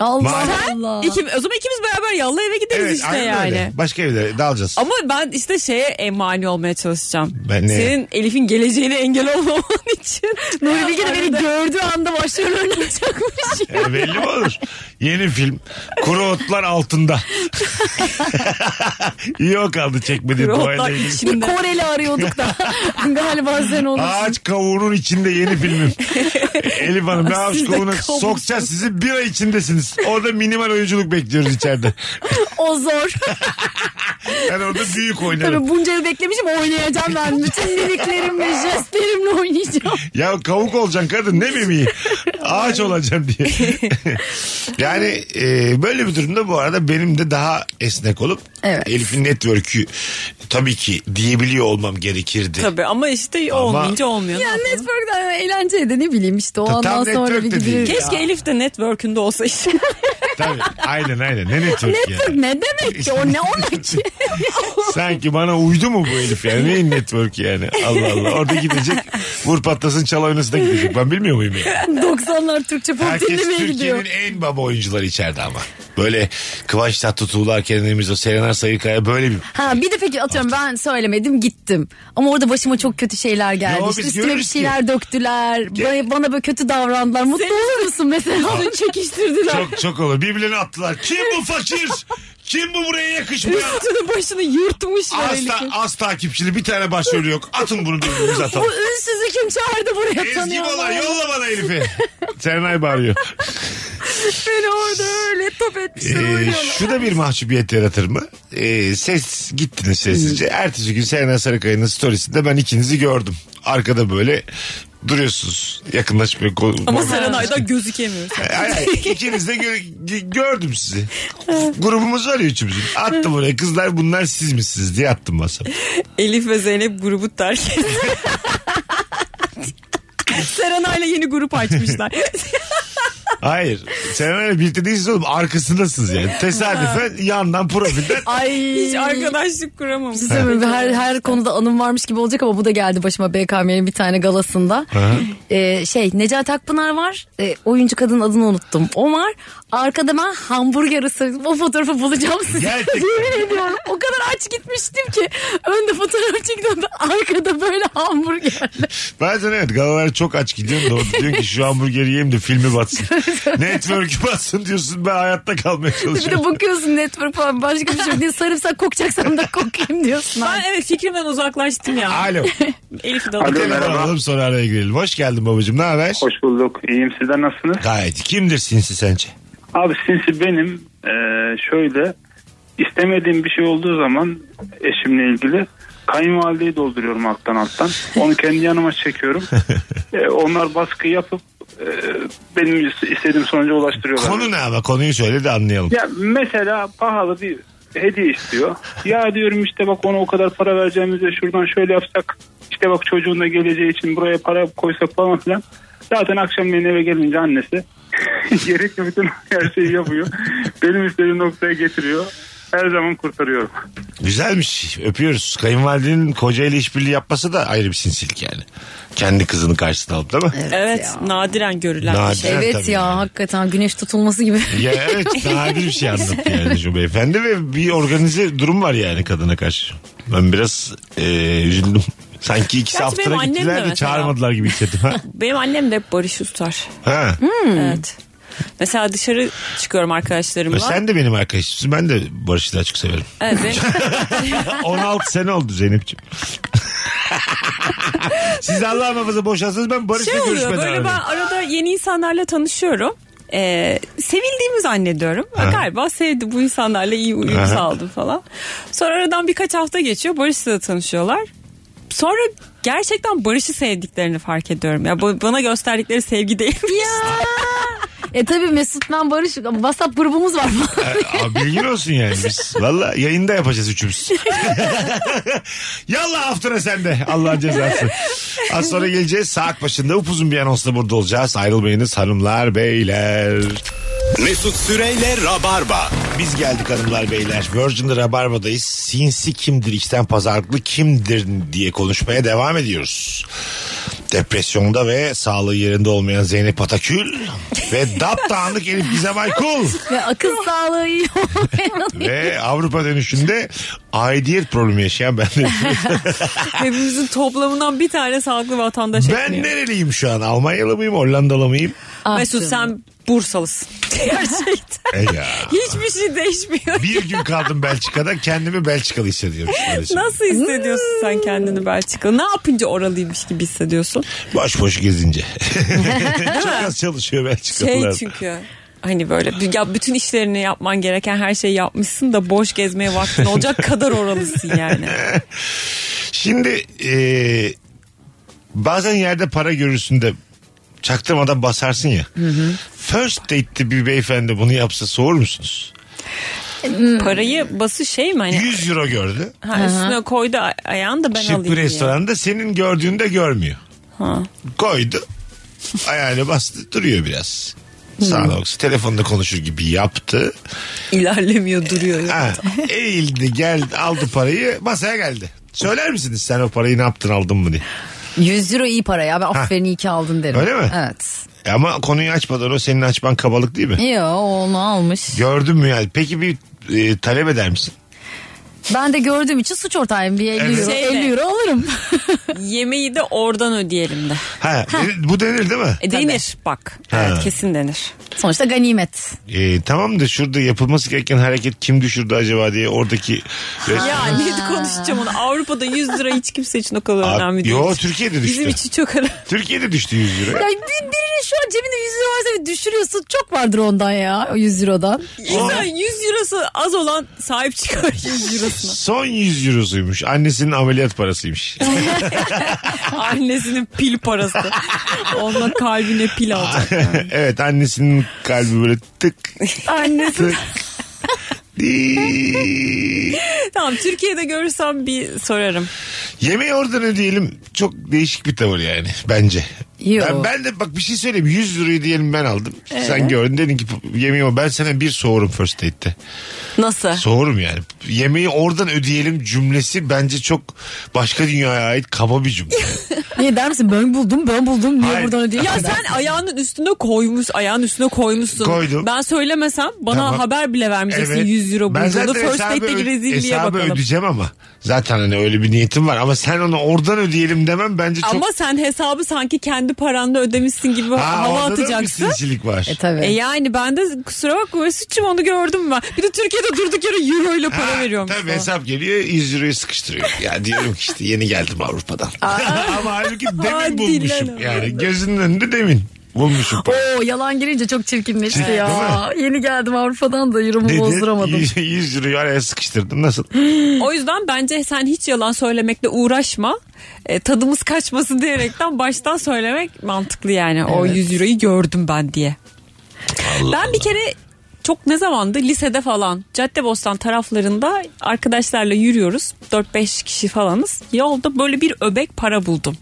[SPEAKER 4] Allah
[SPEAKER 3] Maalesef.
[SPEAKER 4] Allah.
[SPEAKER 5] İki, o zaman ikimiz beraber yalla eve gideriz
[SPEAKER 3] Evet
[SPEAKER 5] işte
[SPEAKER 3] aynen
[SPEAKER 5] yani.
[SPEAKER 3] öyle. Başka evlere dalacağız.
[SPEAKER 5] Ama ben işte şeye emani olmaya çalışacağım.
[SPEAKER 3] Ben ne?
[SPEAKER 5] Senin Elif'in geleceğine engel olmaman için.
[SPEAKER 4] Nuri Bilge de beni
[SPEAKER 5] Arada-
[SPEAKER 4] gördüğü anda başlarını oynayacakmış.
[SPEAKER 3] E, belli mi olur? Yeni film. Kuru otlar altında. İyi o kaldı çekmedi.
[SPEAKER 5] Kuru
[SPEAKER 3] dua
[SPEAKER 5] otlar
[SPEAKER 3] edelim.
[SPEAKER 5] içinde.
[SPEAKER 4] Bir Koreli arıyorduk da. Galiba sen olursun.
[SPEAKER 3] Ağaç kavuğunun içinde yeni filmim. Elif Hanım ben ağaç
[SPEAKER 5] Siz de
[SPEAKER 3] kavuğuna
[SPEAKER 5] kavursunuz.
[SPEAKER 3] sokacağız sizi bir ay içindesiniz. Orada minimal oyunculuk bekliyoruz içeride.
[SPEAKER 4] O zor.
[SPEAKER 3] Ben orada büyük oynarım.
[SPEAKER 4] Tabii bunca yıl beklemişim oynayacağım ben. Bütün mimiklerimle, jestlerimle oynayacağım.
[SPEAKER 3] Ya kavuk olacaksın kadın ne mimiği? Ağaç olacaksın diye. yani e, böyle bir durumda bu arada benim de daha esnek olup
[SPEAKER 4] Evet.
[SPEAKER 3] Elif'in network'ü tabii ki diyebiliyor olmam gerekirdi.
[SPEAKER 5] Tabii ama işte olmayınca olmuyor.
[SPEAKER 4] Ya network'ten eğlence de ne bileyim işte o
[SPEAKER 3] Tam
[SPEAKER 4] andan sonra
[SPEAKER 3] network
[SPEAKER 4] bir
[SPEAKER 3] de
[SPEAKER 4] gidiyor.
[SPEAKER 3] değil.
[SPEAKER 5] Keşke Elif de network'ünde olsa işte.
[SPEAKER 3] Tabii. Aynen aynen. Ne network,
[SPEAKER 4] Network
[SPEAKER 3] ya?
[SPEAKER 4] ne demek ki o ne ona ki?
[SPEAKER 3] Sanki bana uydu mu bu Elif yani? Neyin network yani? Allah Allah. Orada gidecek. Vur patlasın çal oynasına gidecek. Ben bilmiyor muyum ya?
[SPEAKER 4] 90'lar Türkçe pop
[SPEAKER 3] Herkes
[SPEAKER 4] dinlemeye
[SPEAKER 3] Türkiye'nin
[SPEAKER 4] gidiyor.
[SPEAKER 3] en baba oyuncuları içeride ama. Böyle Kıvanç Tatlıtuğ'la Erken o Serenay Sayıkaya böyle bir...
[SPEAKER 4] Ha bir de peki atıyorum ben söylemedim gittim. Ama orada başıma çok kötü şeyler geldi.
[SPEAKER 3] Yo,
[SPEAKER 4] İşte
[SPEAKER 3] biz
[SPEAKER 4] üstüme bir
[SPEAKER 3] görürüz ki.
[SPEAKER 4] şeyler döktüler. Ba- Bana böyle kötü davrandılar. Mutlu olur musun mesela? çekiştirdiler.
[SPEAKER 3] Çok çok olur. Birbirlerini attılar. Kim bu fakir? Kim bu buraya yakışmıyor?
[SPEAKER 5] Üstünü başını yırtmış var
[SPEAKER 3] Asla,
[SPEAKER 5] Elif'in.
[SPEAKER 3] az takipçili bir tane başrolü yok. Atın bunu birbirimize atalım.
[SPEAKER 4] Bu ünsüzü kim çağırdı buraya
[SPEAKER 3] Ezgi Mola
[SPEAKER 4] tanıyorlar.
[SPEAKER 3] yolla bana Elif'i. Serenay bağırıyor.
[SPEAKER 4] Beni orada öyle top
[SPEAKER 3] Ee,
[SPEAKER 4] etmişler oynuyorlar.
[SPEAKER 3] şu da bir mahcubiyet yaratır mı? Ee, ses gittiniz sessizce. Ertesi gün Serenay Sarıkaya'nın storiesinde ben ikinizi gördüm. Arkada böyle duruyorsunuz. Yakınlaşıp böyle kol-
[SPEAKER 5] Ama
[SPEAKER 3] kol-
[SPEAKER 5] Serenay'da gözükemiyor.
[SPEAKER 3] Ay, ay, İkiniz de gö- gö- gördüm sizi. Grubumuz var ya üçümüzün. Attım oraya kızlar bunlar siz misiniz diye attım masama.
[SPEAKER 5] Elif ve Zeynep grubu terk etti. Serenay'la yeni grup açmışlar.
[SPEAKER 3] Hayır. Serenay'la birlikte değilsiniz oğlum. Arkasındasınız yani. Tesadüfen yandan profilden.
[SPEAKER 4] Ay.
[SPEAKER 5] Hiç arkadaşlık kuramam.
[SPEAKER 4] Değil şey mi? Her, her konuda anım varmış gibi olacak ama bu da geldi başıma BKM'nin bir tane galasında. Ee, şey Necati Akpınar var. Ee, oyuncu kadının adını unuttum. O var. Arkada ben hamburger ısırdım. O fotoğrafı bulacağım size.
[SPEAKER 3] Gerçekten.
[SPEAKER 4] Yemin ediyorum. O kadar aç gitmiştim ki. Önde fotoğraf çekiyordum. Arkada böyle hamburgerle.
[SPEAKER 3] Bazen evet galalara çok aç gidiyorum da orada diyorsun ki şu hamburgeri yiyeyim de filmi batsın. Network'ü batsın diyorsun ben hayatta kalmaya
[SPEAKER 4] bir
[SPEAKER 3] çalışıyorum.
[SPEAKER 4] de bakıyorsun network falan başka bir şey yok diye sarımsak kokacaksam da kokayım diyorsun.
[SPEAKER 5] Ben evet fikrimden uzaklaştım ya.
[SPEAKER 3] Alo.
[SPEAKER 5] Elif'i de
[SPEAKER 7] Alo,
[SPEAKER 5] alıp-
[SPEAKER 3] Telefon
[SPEAKER 7] merhaba.
[SPEAKER 3] alalım sonra araya girelim. Hoş geldin babacığım ne haber?
[SPEAKER 7] Hoş bulduk. İyiyim. Sizler nasılsınız?
[SPEAKER 3] Gayet. iyi. Kimdir sinsi sence?
[SPEAKER 7] Abi sinsi benim eee, şöyle istemediğim bir şey olduğu zaman eşimle ilgili kayınvalideyi dolduruyorum alttan alttan. Onu kendi yanıma çekiyorum. Eee, onlar baskı yapıp eee, benim istediğim sonuca ulaştırıyorlar.
[SPEAKER 3] Konu ne ama konuyu söyle de anlayalım.
[SPEAKER 7] Ya mesela pahalı bir hediye istiyor. Ya diyorum işte bak ona o kadar para vereceğimize şuradan şöyle yapsak. işte bak çocuğun da geleceği için buraya para koysak falan filan. Zaten akşamleyin eve gelince annesi gerekli bütün her şeyi yapıyor. Benim istediğim noktaya getiriyor. Her zaman kurtarıyorum.
[SPEAKER 3] Güzelmiş. Öpüyoruz. Kayınvalidenin kocayla işbirliği yapması da ayrı bir sinsilik yani. Kendi kızını karşısına alıp değil mi?
[SPEAKER 5] Evet nadiren görülen bir şey.
[SPEAKER 3] Nadiren
[SPEAKER 4] Evet
[SPEAKER 3] tabii
[SPEAKER 4] ya
[SPEAKER 3] yani.
[SPEAKER 4] hakikaten güneş tutulması gibi.
[SPEAKER 3] Ya evet nadir bir şey anlattı yani şu beyefendi ve bir organize durum var yani kadına karşı. Ben biraz e, üzüldüm. Sanki ikisi
[SPEAKER 5] Gerçi benim
[SPEAKER 3] haftara
[SPEAKER 5] annem de
[SPEAKER 3] gittiler de
[SPEAKER 5] mesela.
[SPEAKER 3] çağırmadılar gibi hissettim. Ha?
[SPEAKER 5] Benim annem de hep Barış Ustar.
[SPEAKER 3] ha.
[SPEAKER 4] Hmm.
[SPEAKER 5] Evet. Mesela dışarı çıkıyorum arkadaşlarımla.
[SPEAKER 3] E Sen de benim arkadaşımsın. Ben de Barış'ı daha çok severim.
[SPEAKER 5] Evet, benim-
[SPEAKER 3] 16 sene oldu Zeynep'ciğim. Siz Allah muhafaza boşansınız ben Barış'la
[SPEAKER 5] şey oluyor
[SPEAKER 3] görüşmeden
[SPEAKER 5] böyle ben
[SPEAKER 3] aradım.
[SPEAKER 5] arada yeni insanlarla tanışıyorum. e, sevildiğimi zannediyorum. Galiba sevdi bu insanlarla iyi uyum sağladım falan. Sonra aradan birkaç hafta geçiyor. Barış'la da tanışıyorlar. Sonra gerçekten Barış'ı sevdiklerini fark ediyorum. Ya bu- bana gösterdikleri sevgi değilmiş.
[SPEAKER 4] E tabii Mesut ben Barış WhatsApp grubumuz var falan.
[SPEAKER 3] Abi bilgin olsun yani biz. Valla yayında yapacağız üçümüz. Yallah haftana sende. Allah'ın cezası. Az sonra geleceğiz. Saat başında upuzun bir anonsla burada olacağız. Ayrılmayınız hanımlar beyler.
[SPEAKER 2] Mesut Süreyle Rabarba.
[SPEAKER 3] Biz geldik hanımlar beyler. Virgin'de Rabarba'dayız. Sinsi kimdir, içten pazarlıklı kimdir diye konuşmaya devam ediyoruz. Depresyonda ve sağlığı yerinde olmayan Zeynep Atakül ve daptağınlık Elif Gizem Aykul
[SPEAKER 4] Ve akıl sağlığı iyi olmayan-
[SPEAKER 3] ve Avrupa dönüşünde aidiyet problemi yaşayan ben de.
[SPEAKER 5] Hepimizin toplamından bir tane sağlıklı vatandaş
[SPEAKER 3] ben
[SPEAKER 5] etmiyor.
[SPEAKER 3] nereliyim şu an? Almanyalı mıyım, Hollandalı mıyım?
[SPEAKER 4] Ah
[SPEAKER 5] Mesut
[SPEAKER 4] canım.
[SPEAKER 5] sen Bursalısın. Gerçekten.
[SPEAKER 3] E ya.
[SPEAKER 5] Hiçbir şey değişmiyor.
[SPEAKER 3] Bir gün kaldım Belçika'da kendimi Belçikalı hissediyorum. maalesef.
[SPEAKER 5] Nasıl hissediyorsun sen kendini Belçikalı? Ne yapınca oralıymış gibi hissediyorsun?
[SPEAKER 3] Boş boş gezince. Çok az çalışıyor
[SPEAKER 5] Şey
[SPEAKER 3] Belçikalılar.
[SPEAKER 5] çünkü hani böyle b- ya bütün işlerini yapman gereken her şeyi yapmışsın da boş gezmeye vaktin olacak kadar oralısın yani.
[SPEAKER 3] Şimdi e, bazen yerde para görürsün de çaktırmadan basarsın ya. First date'te bir beyefendi bunu yapsa soğur musunuz? Hmm.
[SPEAKER 5] Parayı bası şey mi hani
[SPEAKER 3] 100 euro gördü.
[SPEAKER 5] ha, üstüne koydu a- ayağını da ben
[SPEAKER 3] Şık bir
[SPEAKER 5] alayım diye.
[SPEAKER 3] restoranda senin gördüğünü de görmüyor.
[SPEAKER 5] Ha.
[SPEAKER 3] Koydu. Ayağını bastı duruyor biraz. Sağda baksın. Telefonda konuşur gibi yaptı.
[SPEAKER 5] İlerlemiyor duruyor.
[SPEAKER 3] Ha, eğildi geldi aldı parayı masaya geldi. Söyler misiniz sen o parayı ne yaptın aldın mı diye.
[SPEAKER 4] 100 euro iyi para ya. Ben aferin iyi ki aldın derim.
[SPEAKER 3] Öyle mi?
[SPEAKER 4] Evet.
[SPEAKER 3] E Ama konuyu açmadan o senin açman kabalık değil mi?
[SPEAKER 4] Yo onu almış.
[SPEAKER 3] Gördün mü yani? Peki bir e, talep eder misin?
[SPEAKER 4] Ben de gördüğüm için suç ortağıyım. Bir 50
[SPEAKER 3] Evet.
[SPEAKER 4] euro,
[SPEAKER 5] Şeyle.
[SPEAKER 4] 50 euro alırım.
[SPEAKER 5] Yemeği de oradan ödeyelim de.
[SPEAKER 3] Ha, denir- bu denir değil mi?
[SPEAKER 5] E, denir bak. Evet kesin denir.
[SPEAKER 4] Sonuçta ganimet.
[SPEAKER 3] E, tamam da şurada yapılması gereken hareket kim düşürdü acaba diye oradaki...
[SPEAKER 5] Ya ne konuşacağım onu. Avrupa'da 100 lira hiç kimse için o kadar
[SPEAKER 3] Abi,
[SPEAKER 5] önemli değil.
[SPEAKER 3] yo, Türkiye'de düştü.
[SPEAKER 5] Bizim için çok önemli.
[SPEAKER 3] Türkiye'de düştü 100 lira.
[SPEAKER 4] Ya bir, birinin şu an cebinde 100 euro varsa bir düşürüyorsun. Çok vardır ondan ya. O 100 eurodan.
[SPEAKER 5] İnsan 100 eurosu az olan sahip çıkar 100 eurosuna.
[SPEAKER 3] Son 100 eurosuymuş. Annesinin ameliyat parasıymış.
[SPEAKER 5] Annesinin pil parası. Onunla kalbine pil alacak.
[SPEAKER 3] evet annesinin kalbi böyle tık
[SPEAKER 5] Annesi.
[SPEAKER 3] tık. Di-
[SPEAKER 5] Tamam Türkiye'de görürsem bir sorarım.
[SPEAKER 3] Yemeği oradan ödeyelim. Çok değişik bir tavır yani bence.
[SPEAKER 4] Yo.
[SPEAKER 3] Ben, ben de bak bir şey söyleyeyim. 100 lirayı diyelim ben aldım. Sen gördün dedin ki yemeği o. ben sana bir soğurum first date'te.
[SPEAKER 5] Nasıl?
[SPEAKER 3] Soğurum yani. Yemeği oradan ödeyelim cümlesi bence çok başka dünyaya ait kaba bir cümle.
[SPEAKER 4] Niye der misin ben buldum ben buldum niye
[SPEAKER 3] Hayır.
[SPEAKER 4] buradan ödeyeyim?
[SPEAKER 5] Ya sen ayağının üstüne koymuş, ayağın üstüne koymuşsun.
[SPEAKER 3] Koydum.
[SPEAKER 5] Ben söylemesem bana
[SPEAKER 3] Tamam.
[SPEAKER 5] haber bile vermeyeceksin 100 euro
[SPEAKER 3] Ben
[SPEAKER 5] bulduğunu.
[SPEAKER 3] zaten
[SPEAKER 5] First
[SPEAKER 3] hesabı
[SPEAKER 5] date'deki
[SPEAKER 3] ö-
[SPEAKER 5] rezilliğe
[SPEAKER 3] hesabı
[SPEAKER 5] bakalım.
[SPEAKER 3] ödeyeceğim ama. Zaten hani öyle bir niyetim var ama sen onu oradan ödeyelim demem bence çok...
[SPEAKER 5] Ama sen hesabı sanki kendi paranla ödemişsin gibi hava
[SPEAKER 3] orada da bir
[SPEAKER 5] atacaksın.
[SPEAKER 3] sinsilik var.
[SPEAKER 4] E tabii.
[SPEAKER 5] E yani ben de kusura bakma Mesut'cum onu gördüm ben. Bir de Türkiye'de durduk yere euro ile para
[SPEAKER 3] Ha,
[SPEAKER 5] veriyormuş.
[SPEAKER 3] Tabii
[SPEAKER 5] falan.
[SPEAKER 3] hesap geliyor 100 euroyu sıkıştırıyor. Ya diyorum ki işte yeni geldim Avrupa'dan. Ama halbuki demin
[SPEAKER 5] Hadi
[SPEAKER 3] bulmuşum.
[SPEAKER 5] lan.
[SPEAKER 3] Yani gözünün önünde demin bulmuşum.
[SPEAKER 4] Oo E, yalan girince çok çirkinleşti ya.
[SPEAKER 3] Değil
[SPEAKER 4] Yeni geldim Avrupa'dan da euromu
[SPEAKER 3] Dedi,
[SPEAKER 4] bozduramadım.
[SPEAKER 3] 100, 100 euroyu araya sıkıştırdın nasıl?
[SPEAKER 5] O yüzden bence sen hiç yalan söylemekle uğraşma. E, tadımız kaçmasın diyerekten baştan söylemek mantıklı yani. O 100 euroyu gördüm ben diye. ben bir kere çok ne zamandı lisede falan Caddebostan taraflarında arkadaşlarla yürüyoruz. 4-5 kişi falanız. Yolda böyle bir öbek para buldum.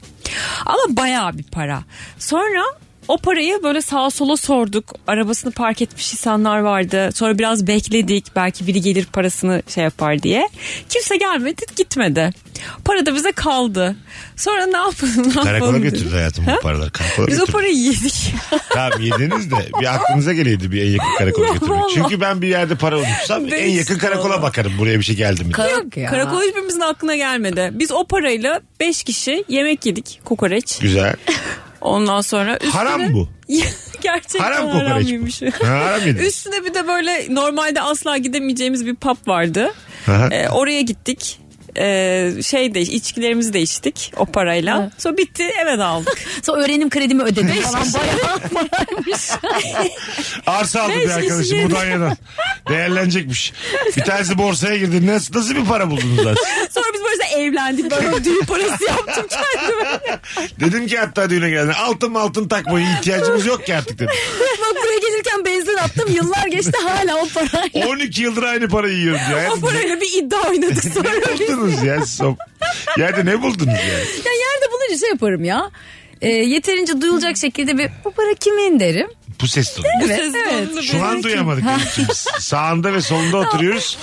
[SPEAKER 5] Ama bayağı bir para. Sonra o parayı böyle sağa sola sorduk. Arabasını park etmiş insanlar vardı. Sonra biraz bekledik. Belki biri gelir parasını şey yapar diye. Kimse gelmedi gitmedi. Para da bize kaldı. Sonra ne yapalım ne yapalım
[SPEAKER 3] Karakola
[SPEAKER 5] dedik.
[SPEAKER 3] götürdü hayatım
[SPEAKER 5] Ha?
[SPEAKER 3] bu paraları. Karakola
[SPEAKER 5] Biz o
[SPEAKER 3] götürdü.
[SPEAKER 5] parayı yedik.
[SPEAKER 3] Tamam yediniz de bir aklınıza geleydi bir en yakın karakola
[SPEAKER 5] Ya
[SPEAKER 3] götürmek.
[SPEAKER 5] vallahi.
[SPEAKER 3] Çünkü ben bir yerde para unutsam en
[SPEAKER 5] Değişik
[SPEAKER 3] yakın karakola
[SPEAKER 5] valla.
[SPEAKER 3] bakarım buraya bir şey geldi mi? diye.
[SPEAKER 4] Yok ya.
[SPEAKER 5] Karakol hiçbirimizin aklına gelmedi. Biz o parayla 5 kişi yemek yedik. Kokoreç.
[SPEAKER 3] Güzel.
[SPEAKER 5] Ondan sonra üstüne...
[SPEAKER 3] Haram bu.
[SPEAKER 5] Gerçekten
[SPEAKER 3] Haram
[SPEAKER 5] haram,
[SPEAKER 3] kokoreç bu.
[SPEAKER 5] mıymış?
[SPEAKER 3] Ha, haram yediniz.
[SPEAKER 5] üstüne bir de böyle normalde asla gidemeyeceğimiz bir pub vardı.
[SPEAKER 3] Aha.
[SPEAKER 5] Ee, oraya gittik. e, şey de içkilerimizi de içtik o parayla. Sonra bitti eve daldık.
[SPEAKER 4] Sonra öğrenim kredimi ödedim falan. Bayağı
[SPEAKER 3] Arsa aldı
[SPEAKER 5] Beş
[SPEAKER 3] bir arkadaşım
[SPEAKER 5] kişi
[SPEAKER 3] Mudanya'dan. Değerlenecekmiş. Bir tanesi borsaya girdi. Nasıl, nasıl bir para buldunuz lan?
[SPEAKER 5] Sonra biz böyle evlendik. Böyle düğün parası yaptım kendime.
[SPEAKER 3] Dedim ki hatta düğüne geldi. Altın altın takmaya ihtiyacımız yok ki artık dedim.
[SPEAKER 4] bak buraya gelirken benzin attım. Yıllar geçti hala o parayla.
[SPEAKER 3] 12 yıldır aynı parayı yiyoruz ya.
[SPEAKER 5] O parayla bir iddia oynadık
[SPEAKER 3] Ne
[SPEAKER 5] sonra.
[SPEAKER 3] buldunuz ya? Sop. Yerde ne buldunuz ya?
[SPEAKER 4] Ya yerde bulunca şey yaparım ya. E, yeterince duyulacak şekilde bir bu para kimin derim.
[SPEAKER 3] Bu ses tonu.
[SPEAKER 5] Bu ses tonunu
[SPEAKER 3] Şu an
[SPEAKER 5] belirleyin.
[SPEAKER 3] duyamadık. Elif'ciğim. Sağında ve solunda oturuyoruz.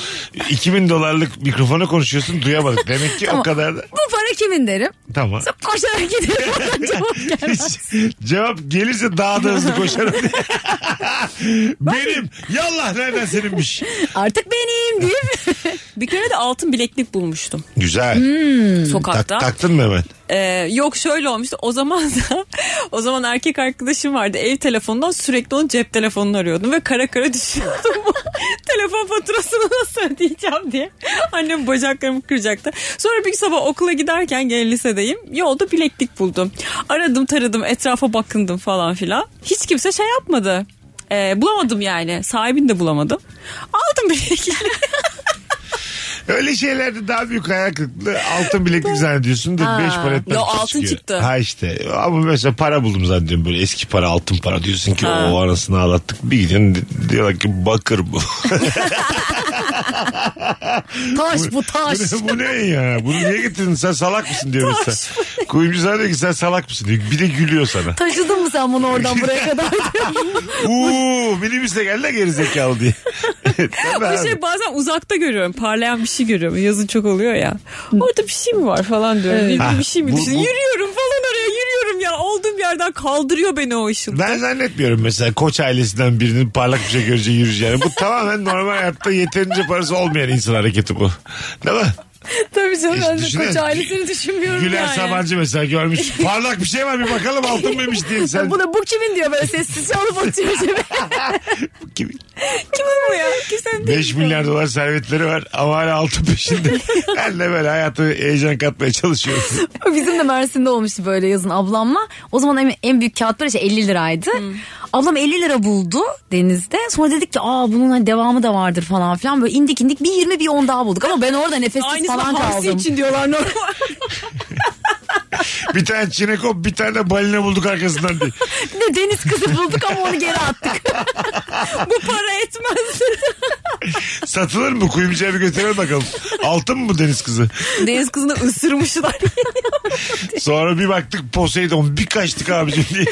[SPEAKER 3] 2000 dolarlık mikrofona konuşuyorsun duyamadık. Demek ki o
[SPEAKER 4] Tamam.
[SPEAKER 3] kadar da...
[SPEAKER 4] Bu para kimin derim.
[SPEAKER 3] Tamam.
[SPEAKER 4] Sonra koşarak giderim. Cevap gelmez.
[SPEAKER 3] Cevap gelirse daha da hızlı koşarım. Benim. Yallah nereden seninmiş.
[SPEAKER 4] Artık benim değil mi?
[SPEAKER 5] Bir kere de altın bileklik bulmuştum
[SPEAKER 3] Güzel.
[SPEAKER 5] Hmm.
[SPEAKER 3] Hmm. Tak,
[SPEAKER 5] sokakta.
[SPEAKER 3] taktın mı hemen?
[SPEAKER 5] Ee, yok şöyle olmuştu. O zaman da o zaman erkek arkadaşım vardı. Ev telefonundan sürekli onun cep telefonunu arıyordum ve kara kara düşünüyordum. Bu telefon faturasını nasıl ödeyeceğim diye. Annem bacaklarımı kıracaktı. Sonra bir sabah okula giderken gene lisedeyim. Yolda bileklik buldum. Aradım taradım etrafa bakındım falan filan. Hiç kimse şey yapmadı. Ee, bulamadım yani. Sahibini de bulamadım. Aldım bilekliği.
[SPEAKER 3] Öyle şeylerde daha büyük hayal kırıklığı altın bileklik zannediyorsun da 5 para etmez.
[SPEAKER 5] Yo,
[SPEAKER 3] iki
[SPEAKER 5] altın
[SPEAKER 3] çıkıyor.
[SPEAKER 5] çıktı.
[SPEAKER 3] Ha işte ama mesela para buldum zannediyorum böyle eski para altın para diyorsun ki
[SPEAKER 5] Ha.
[SPEAKER 3] o anasını ağlattık bir gidiyorsun di- diyorlar ki bakır bu.
[SPEAKER 4] Taş bu taş.
[SPEAKER 3] bu, ne, bu ne ya bunu niye getirdin sen salak mısın diyor mesela. Kuyumcu sana diyor ki sen salak mısın diyor bir de gülüyor sana.
[SPEAKER 4] Taşıdın mı sen bunu oradan buraya kadar?
[SPEAKER 3] Uuu minibüsle gel de gerizekalı diye. Tabii
[SPEAKER 5] Bir
[SPEAKER 3] abi.
[SPEAKER 5] şey bazen uzakta görüyorum. Parlayan bir şey görüyorum. Yazın çok oluyor ya. Orada bir şey mi var falan diyorum. Bir- Bir,
[SPEAKER 3] Ha,
[SPEAKER 5] bir şey mi
[SPEAKER 3] bu-
[SPEAKER 5] düşün-
[SPEAKER 3] bu-
[SPEAKER 5] Yürüyorum falan oraya yürüyorum ya. Olduğum yerden kaldırıyor beni o ışın.
[SPEAKER 3] Ben zannetmiyorum mesela koç ailesinden birinin parlak bir şey göreceği yürüyeceğini. Bu tamamen normal hayatta yeterince parası olmayan insan hareketi bu. Değil mi?
[SPEAKER 4] Tabii canım
[SPEAKER 3] ben de Düşünün. koç ailesini
[SPEAKER 4] düşünmüyorum
[SPEAKER 3] Güler Sabancı mesela görmüş. Parlak bir şey var bir bakalım altın mıymış diye sen.
[SPEAKER 4] Bu da bu kimin diyor böyle sessizce alıp atıyor cebe.
[SPEAKER 3] Kim-
[SPEAKER 5] Kim bu ya? Kimsenin değil.
[SPEAKER 3] 5 milyar dolar servetleri var ama hala altın peşinde. Ben de böyle hayatı heyecan katmaya çalışıyorum.
[SPEAKER 4] Bizim de Mersin'de olmuştu böyle yazın ablamla. O zaman en, en büyük kağıt parası 50 liraydı. Ablam 50 lira buldu denizde. Sonra dedik ki aa bunun hani devamı da vardır falan filan. Böyle indik indik bir 20 bir 10 daha bulduk. Ama ben orada nefessiz
[SPEAKER 5] Aynısını
[SPEAKER 4] falan
[SPEAKER 5] hamsi
[SPEAKER 4] kaldım.
[SPEAKER 5] için diyorlar normal.
[SPEAKER 3] Bir tane çinekop bir tane de balina bulduk arkasından diye.
[SPEAKER 4] Bir de deniz kızı bulduk ama onu geri attık.
[SPEAKER 5] Bu para etmez.
[SPEAKER 3] Satılır mı? Kuyumcuya bir götürelim bakalım. Altın mı bu deniz kızı?
[SPEAKER 5] Deniz kızını ısırmışlar.
[SPEAKER 3] Sonra bir baktık Poseidon bir kaçtık abicim diye.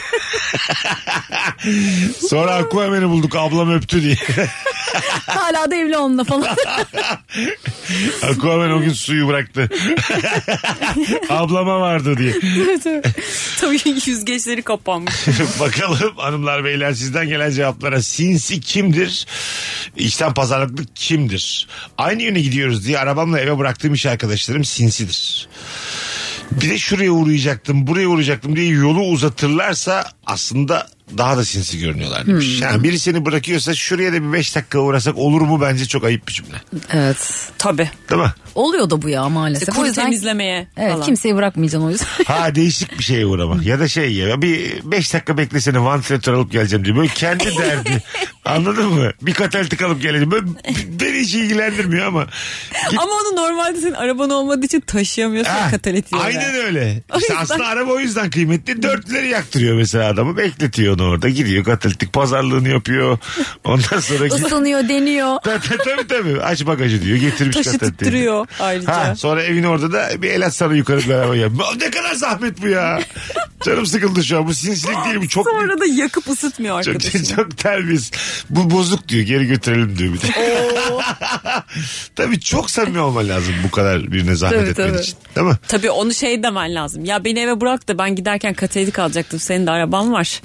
[SPEAKER 3] Sonra Aquaman'ı bulduk ablam öptü diye.
[SPEAKER 4] Hala da evli onunla falan.
[SPEAKER 3] Aquaman o gün suyu bıraktı. Ablama vardı diye.
[SPEAKER 5] Tabii yüzgeçleri kapanmış.
[SPEAKER 3] Bakalım hanımlar beyler sizden gelen cevaplara sinsi kimdir? İşten pazarlıklık kimdir? Aynı yöne gidiyoruz diye arabamla eve bıraktığım iş arkadaşlarım sinsidir. Bir de şuraya uğrayacaktım buraya uğrayacaktım diye yolu uzatırlarsa aslında daha da sinsi görünüyorlar demiş. Yani biri seni bırakıyorsa şuraya da bir 5 dakika uğrasak olur mu bence çok ayıp bir cümle.
[SPEAKER 4] evet.
[SPEAKER 5] Tabii.
[SPEAKER 3] Değil mi?
[SPEAKER 4] Oluyor da bu ya maalesef. O
[SPEAKER 5] Kuru
[SPEAKER 4] yüzden-
[SPEAKER 5] temizlemeye
[SPEAKER 4] Evet
[SPEAKER 5] falan.
[SPEAKER 4] kimseyi bırakmayacaksın o yüzden.
[SPEAKER 3] Ha değişik bir şeye uğrama. Ya da şey ya bir 5 dakika beklesene vantilatör alıp geleceğim diye. Böyle kendi derdi. Anladın mı? Bir kataltik alıp geleceğim. Böyle beni hiç ilgilendirmiyor ama. Git-
[SPEAKER 5] Ama onu normalde senin araban olmadığı için taşıyamıyorsun
[SPEAKER 3] Ha,
[SPEAKER 5] katalet yerine.
[SPEAKER 3] Aynen öyle.
[SPEAKER 5] O
[SPEAKER 3] İşte
[SPEAKER 5] yüzden-
[SPEAKER 3] aslında araba o yüzden kıymetli. Dörtlüleri yaktırıyor mesela adamı. Bekletiyor onu orada. Gidiyor katalitik pazarlığını yapıyor. Ondan sonra git.
[SPEAKER 4] Isınıyor deniyor.
[SPEAKER 3] tabii tabii tabii. Aç bagajı diyor. Getirmiş
[SPEAKER 5] Taşı
[SPEAKER 3] katalitiğini.
[SPEAKER 5] titriyor ayrıca.
[SPEAKER 3] Ha, sonra evin orada da bir el atsana yukarı beraber ya. Ne kadar zahmet bu ya. Canım sıkıldı şu an. Bu sinsilik değil bu. Çok büyük
[SPEAKER 5] Sonra da yakıp ısıtmıyor
[SPEAKER 3] Çok,
[SPEAKER 5] arkadaşını.
[SPEAKER 3] çok terbiyesiz. Bu bozuk diyor geri götürelim diyor bir de. tabii çok samimi olman lazım bu kadar birine zahmet
[SPEAKER 4] Tabii,
[SPEAKER 3] etmen
[SPEAKER 4] tabii.
[SPEAKER 3] için. Değil mi?
[SPEAKER 5] Tabii onu şey demen lazım. Ya beni eve bırak da ben giderken kateydik alacaktım. Senin de araban var.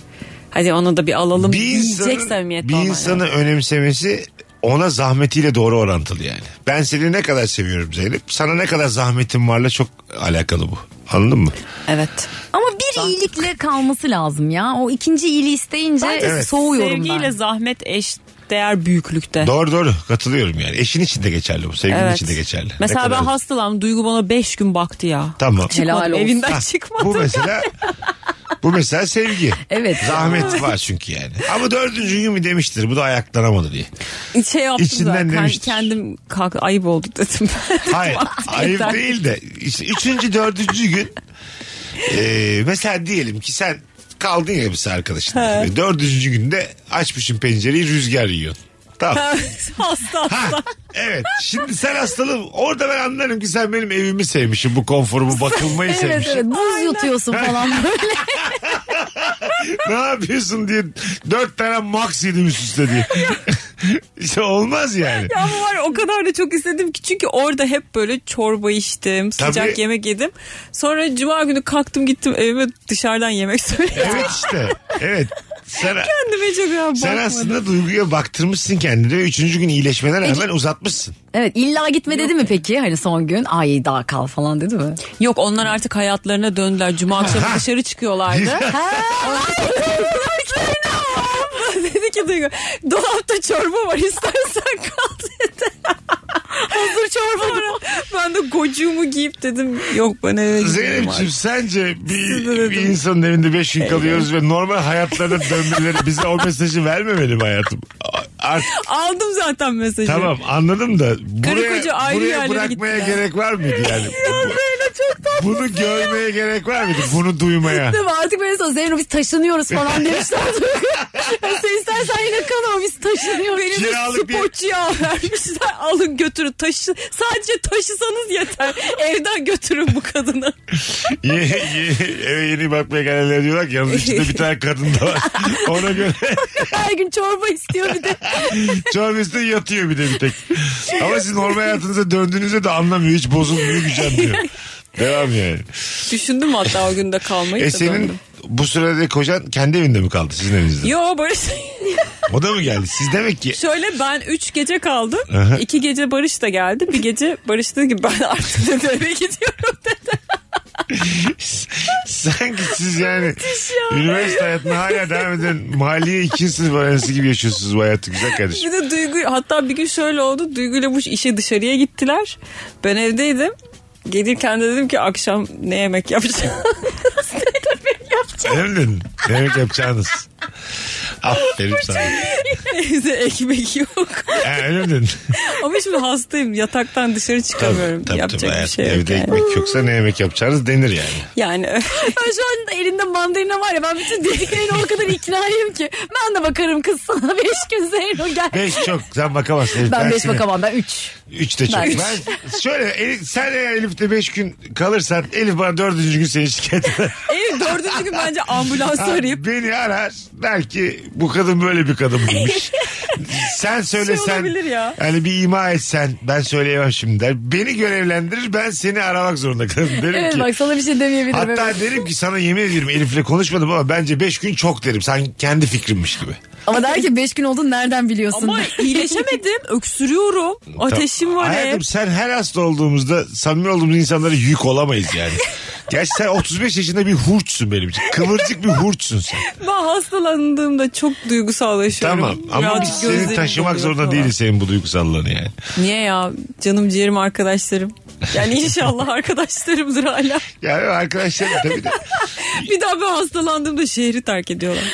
[SPEAKER 5] Hadi onu da bir alalım.
[SPEAKER 3] Bir
[SPEAKER 5] diyecek
[SPEAKER 3] insanın,
[SPEAKER 5] samimiyet
[SPEAKER 3] bir
[SPEAKER 5] olman
[SPEAKER 3] insanı
[SPEAKER 5] lazım.
[SPEAKER 3] önemsemesi ona zahmetiyle doğru orantılı yani. Ben seni ne kadar seviyorum Zeynep. Sana ne kadar zahmetin varla çok alakalı bu. Anladın mı?
[SPEAKER 5] Evet.
[SPEAKER 4] Ama bir iyilikle kalması lazım ya. O ikinci iyiliği isteyince
[SPEAKER 3] Evet.
[SPEAKER 4] soğuyorum
[SPEAKER 5] Sevgiyle
[SPEAKER 4] ben.
[SPEAKER 5] zahmet eş
[SPEAKER 6] değer
[SPEAKER 5] Eh.
[SPEAKER 6] büyüklükte.
[SPEAKER 3] Doğru doğru katılıyorum yani. Eşin için de geçerli bu. Sevgilin
[SPEAKER 6] Evet.
[SPEAKER 3] için de geçerli. Ne
[SPEAKER 5] Mesela ben
[SPEAKER 3] kadar-
[SPEAKER 5] hastalandım. Duygu bana 5 gün baktı ya.
[SPEAKER 3] Tamam.
[SPEAKER 4] Helal olsun.
[SPEAKER 5] Evinden
[SPEAKER 3] Ha,
[SPEAKER 5] çıkmadı.
[SPEAKER 3] Bu mesela bu mesela sevgi.
[SPEAKER 4] Evet.
[SPEAKER 3] Zahmet var çünkü yani. Ama dördüncü gün mü demiştir bu da ayaklanamadı diye.
[SPEAKER 5] şey yaptım
[SPEAKER 3] İçinden
[SPEAKER 5] zaten.
[SPEAKER 3] demiştir.
[SPEAKER 5] Kendim kalk ayıp oldu dedim.
[SPEAKER 3] Hayır ayıp
[SPEAKER 5] yeter.
[SPEAKER 3] değil de işte üçüncü dördüncü gün e, mesela diyelim ki sen kaldın ya bir arkadaşın. Dördüncü günde açmışsın pencereyi rüzgar yiyorsun. Tamam.
[SPEAKER 5] hasta hasta.
[SPEAKER 3] Evet. Şimdi sen hastalığım. Orada ben anlarım ki sen benim evimi sevmişsin. Bu konforumu, bakılmayı
[SPEAKER 4] Evet
[SPEAKER 3] sevmişsin.
[SPEAKER 4] evet buz yutuyorsun falan böyle.
[SPEAKER 3] ne yapıyorsun diye dört tane max yedim üst üste diye. işte olmaz yani.
[SPEAKER 5] Ama var ya, o kadar da çok istedim ki çünkü orada hep böyle çorba içtim, sıcak
[SPEAKER 3] Tabii.
[SPEAKER 5] yemek yedim. Sonra cuma günü kalktım gittim evime dışarıdan yemek söyledim.
[SPEAKER 3] Evet işte. Evet. Sen,
[SPEAKER 5] Kendime çok
[SPEAKER 3] sen
[SPEAKER 5] ya bakmadım.
[SPEAKER 3] aslında duyguya baktırmışsın kendine ve üçüncü gün iyileşmene rağmen uzatmışsın.
[SPEAKER 4] Evet illa gitme dedi mi peki? Hani son gün ay daha kal falan dedi mi?
[SPEAKER 5] Yok onlar artık hayatlarına döndüler. Cuma akşamı dışarı çıkıyorlardı. dedi ki Duygu dolapta çorba var istersen kal dedi. Hazır çorba var. Ben de gocuğumu giyip dedim yok ben eve gidiyorum artık.
[SPEAKER 3] Zeynep'ciğim sence bir,
[SPEAKER 5] dedim.
[SPEAKER 3] bir insanın evinde beş gün kalıyoruz ve normal hayatlarına dönmeleri bize o mesajı vermemeli mi hayatım? Artık
[SPEAKER 5] Aldım zaten mesajı.
[SPEAKER 3] Tamam anladım da
[SPEAKER 5] Karı
[SPEAKER 3] buraya,
[SPEAKER 5] koca ayrı
[SPEAKER 3] buraya
[SPEAKER 5] yerlere
[SPEAKER 3] bırakmaya
[SPEAKER 5] gittiler.
[SPEAKER 3] gerek var mıydı yani? Bunu görmeye gerek var mıydı? Bunu duymaya.
[SPEAKER 4] Değil mi? Artık böyle sonra Zeyno biz taşınıyoruz falan demişler. Yani Sen istersen yine kal ama biz taşınıyoruz.
[SPEAKER 5] Beni de
[SPEAKER 3] Kiralık bir-
[SPEAKER 5] sporcuya vermişler. Alın götürün taşı. Sadece taşısanız yeter. Evden götürün bu kadını.
[SPEAKER 3] Ye- ye- Eve yeni bakmaya gelenler diyorlar ki yalnız içinde bir tane kadın da var. Ona göre
[SPEAKER 4] Her gün çorba istiyor bir de.
[SPEAKER 3] çorbasında yatıyor bir de bir tek. Ama siz normal hayatınıza döndüğünüzde de anlamıyor. Hiç bozulmuyor gücenmiyor. Devam yani.
[SPEAKER 5] Düşündüm hatta o günde kalmayı.
[SPEAKER 3] E
[SPEAKER 5] da
[SPEAKER 3] senin
[SPEAKER 5] döndüm.
[SPEAKER 3] bu sürede kocan kendi evinde mi kaldı sizin evinizde?
[SPEAKER 5] Yo Barış
[SPEAKER 3] O da mı geldi? Siz demek ki
[SPEAKER 5] şöyle ben 3 gece kaldım.
[SPEAKER 3] Aha.
[SPEAKER 5] 2 gece Barış da geldi. Bir gece Barış dedi ki ben artık dedi eve gidiyorum dedi.
[SPEAKER 3] Sanki siz yani üniversite hayatına hala devam eden maliye ikinci sınıf öğrencisi gibi yaşıyorsunuz bu hayatı güzel kardeşim.
[SPEAKER 5] Bir de Duygu hatta bir gün şöyle oldu. Duygu ile bu işe dışarıya gittiler. Ben evdeydim. Gelirken de dedim ki akşam ne yemek yapacağım.
[SPEAKER 3] Öyle dedin. Demek yapacağınız. Aferin sana.
[SPEAKER 5] Evde ekmek yok.
[SPEAKER 3] Ha, öyle mi dedin?
[SPEAKER 5] Ama şimdi hastayım. Yataktan dışarı çıkamıyorum. Yapacak bir
[SPEAKER 3] hayatım.
[SPEAKER 5] şey yok.
[SPEAKER 3] Evde
[SPEAKER 5] yani.
[SPEAKER 3] ekmek yoksa ne yemek yapacağınız denir yani.
[SPEAKER 5] Yani
[SPEAKER 4] Ben şu an elinde mandalina var ya ben bütün dediklerini o kadar iknayım ki. Ben de bakarım kız sana beş gün Zeyno gel.
[SPEAKER 3] Beş çok. Sen bakamazsın. Elif.
[SPEAKER 4] Ben beş
[SPEAKER 3] seni-
[SPEAKER 4] bakamam ben üç.
[SPEAKER 3] Üç de çok.
[SPEAKER 4] Ben-
[SPEAKER 3] Ben, şöyle Elif, sen eğer Elif'te beş gün kalırsan Elif bana dördüncü gün seni şikayet eder.
[SPEAKER 5] ev dördüncü gün bence ambulans
[SPEAKER 3] Ha,
[SPEAKER 5] arayıp
[SPEAKER 3] Beni arar. Der ki bu kadın böyle bir kadın bulmuş. Sen söylesen.
[SPEAKER 5] Şey olabilir ya.
[SPEAKER 3] Hani bir ima etsen ben söyleyemem şimdi der. Beni görevlendirir ben seni aramak zorunda kalırım. Derim
[SPEAKER 4] Evet
[SPEAKER 3] ki.
[SPEAKER 4] bak sana bir şey demeyebilirim.
[SPEAKER 3] Hatta
[SPEAKER 4] evet.
[SPEAKER 3] derim ki sana yemin ediyorum Elif'le konuşmadım ama bence 5 gün çok derim. Sanki kendi fikrimmiş gibi.
[SPEAKER 4] Ama der ki beş gün oldun nereden biliyorsun?
[SPEAKER 5] ama iyileşemedim. Öksürüyorum. Ateşim var
[SPEAKER 3] Hayatım
[SPEAKER 5] hep.
[SPEAKER 3] sen her hasta olduğumuzda samimi olduğumuz insanlara yük olamayız yani. Gerçi sen 35 yaşında bir hurçsun benim için. Kıvırcık bir hurçsun sen.
[SPEAKER 5] Ben hastalandığımda çok duygusallaşıyorum.
[SPEAKER 3] Tamam ama
[SPEAKER 5] Birazcık
[SPEAKER 3] biz seni
[SPEAKER 5] gözlerim
[SPEAKER 3] taşımak
[SPEAKER 5] doluyor
[SPEAKER 3] zorunda
[SPEAKER 5] falan.
[SPEAKER 3] değiliz senin bu duygusallığını yani.
[SPEAKER 5] Niye ya? Canım ciğerim arkadaşlarım. Yani inşallah arkadaşlarımdır hala.
[SPEAKER 3] Yani arkadaşlarım tabii de
[SPEAKER 5] Bir daha ben hastalandığımda şehri terk ediyorlar.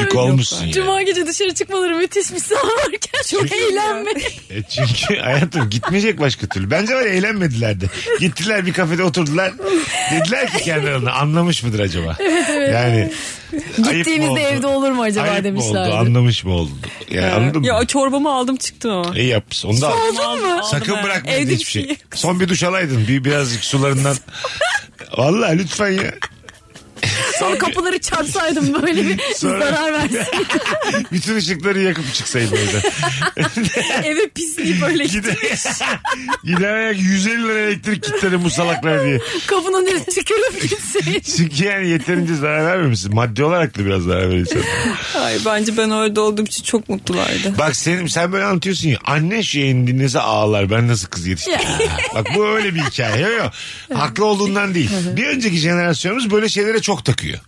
[SPEAKER 3] yük olmuşsun yani.
[SPEAKER 4] Cuma gece dışarı çıkmaları müthişmiş sana varken. Çok eğlenme.
[SPEAKER 3] E çünkü hayatım gitmeyecek başka türlü. Bence var ya eğlenmediler de. Gittiler bir kafede oturdular. Dediler ki kendilerine anlamış mıdır acaba? Evet evet. Yani ayıp mı oldu?
[SPEAKER 4] Gittiğimizde evde olur mu acaba
[SPEAKER 3] Ayıp mı oldu?
[SPEAKER 4] demişlerdi.
[SPEAKER 3] Anlamış mı oldu? Yani anladın
[SPEAKER 5] Ya
[SPEAKER 3] mı?
[SPEAKER 5] çorbamı aldım çıktım ama.
[SPEAKER 3] İyi yapmışsın. Onu da al.
[SPEAKER 5] Aldın mı?
[SPEAKER 3] Sakın bırakma
[SPEAKER 5] Evde
[SPEAKER 3] hiçbir şey. Son bir duş alaydın. Bir, birazcık sularından. Vallahi lütfen ya.
[SPEAKER 4] Sonra kapıları çarpsaydım böyle bir
[SPEAKER 3] Sonra-
[SPEAKER 4] zarar versin.
[SPEAKER 3] Bütün ışıkları yakıp çıksaydın evden.
[SPEAKER 5] Eve pisliği böyle
[SPEAKER 3] Gider, gider ayak 150 lira elektrik kilitledim bu salaklar diye.
[SPEAKER 4] Kapının önüne tükürüp gitseydi.
[SPEAKER 3] Çünkü yani yeterince zarar vermemişsin. Maddi olarak da biraz zarar veriyorsun.
[SPEAKER 5] Ay bence ben orada olduğum için çok mutlulardı.
[SPEAKER 3] Bak senin sen böyle anlatıyorsun ya. Anne şu yayını dinlese ağlar. Ben nasıl kız yetiştirdim? Bak bu öyle bir hikaye. Yok yok. Haklı olduğundan değil. Bir önceki jenerasyonumuz böyle şeylere çok takıyor.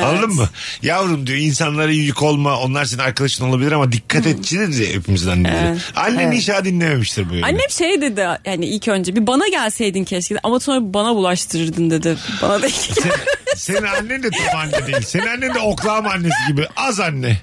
[SPEAKER 3] Anladın mı? Yavrum diyor insanlara yük olma. Onlar senin arkadaşın olabilir ama dikkat etçidir diye hepimizden diyor. Annen inşa dinlememiştir bu yönü.
[SPEAKER 5] Annem şey dedi yani ilk önce bir bana gelseydin keşke ama sonra bana bulaştırırdın dedi. Bana da
[SPEAKER 3] Senin annen de tam anne değil. Senin annen de oklağım annesi gibi. Az anne.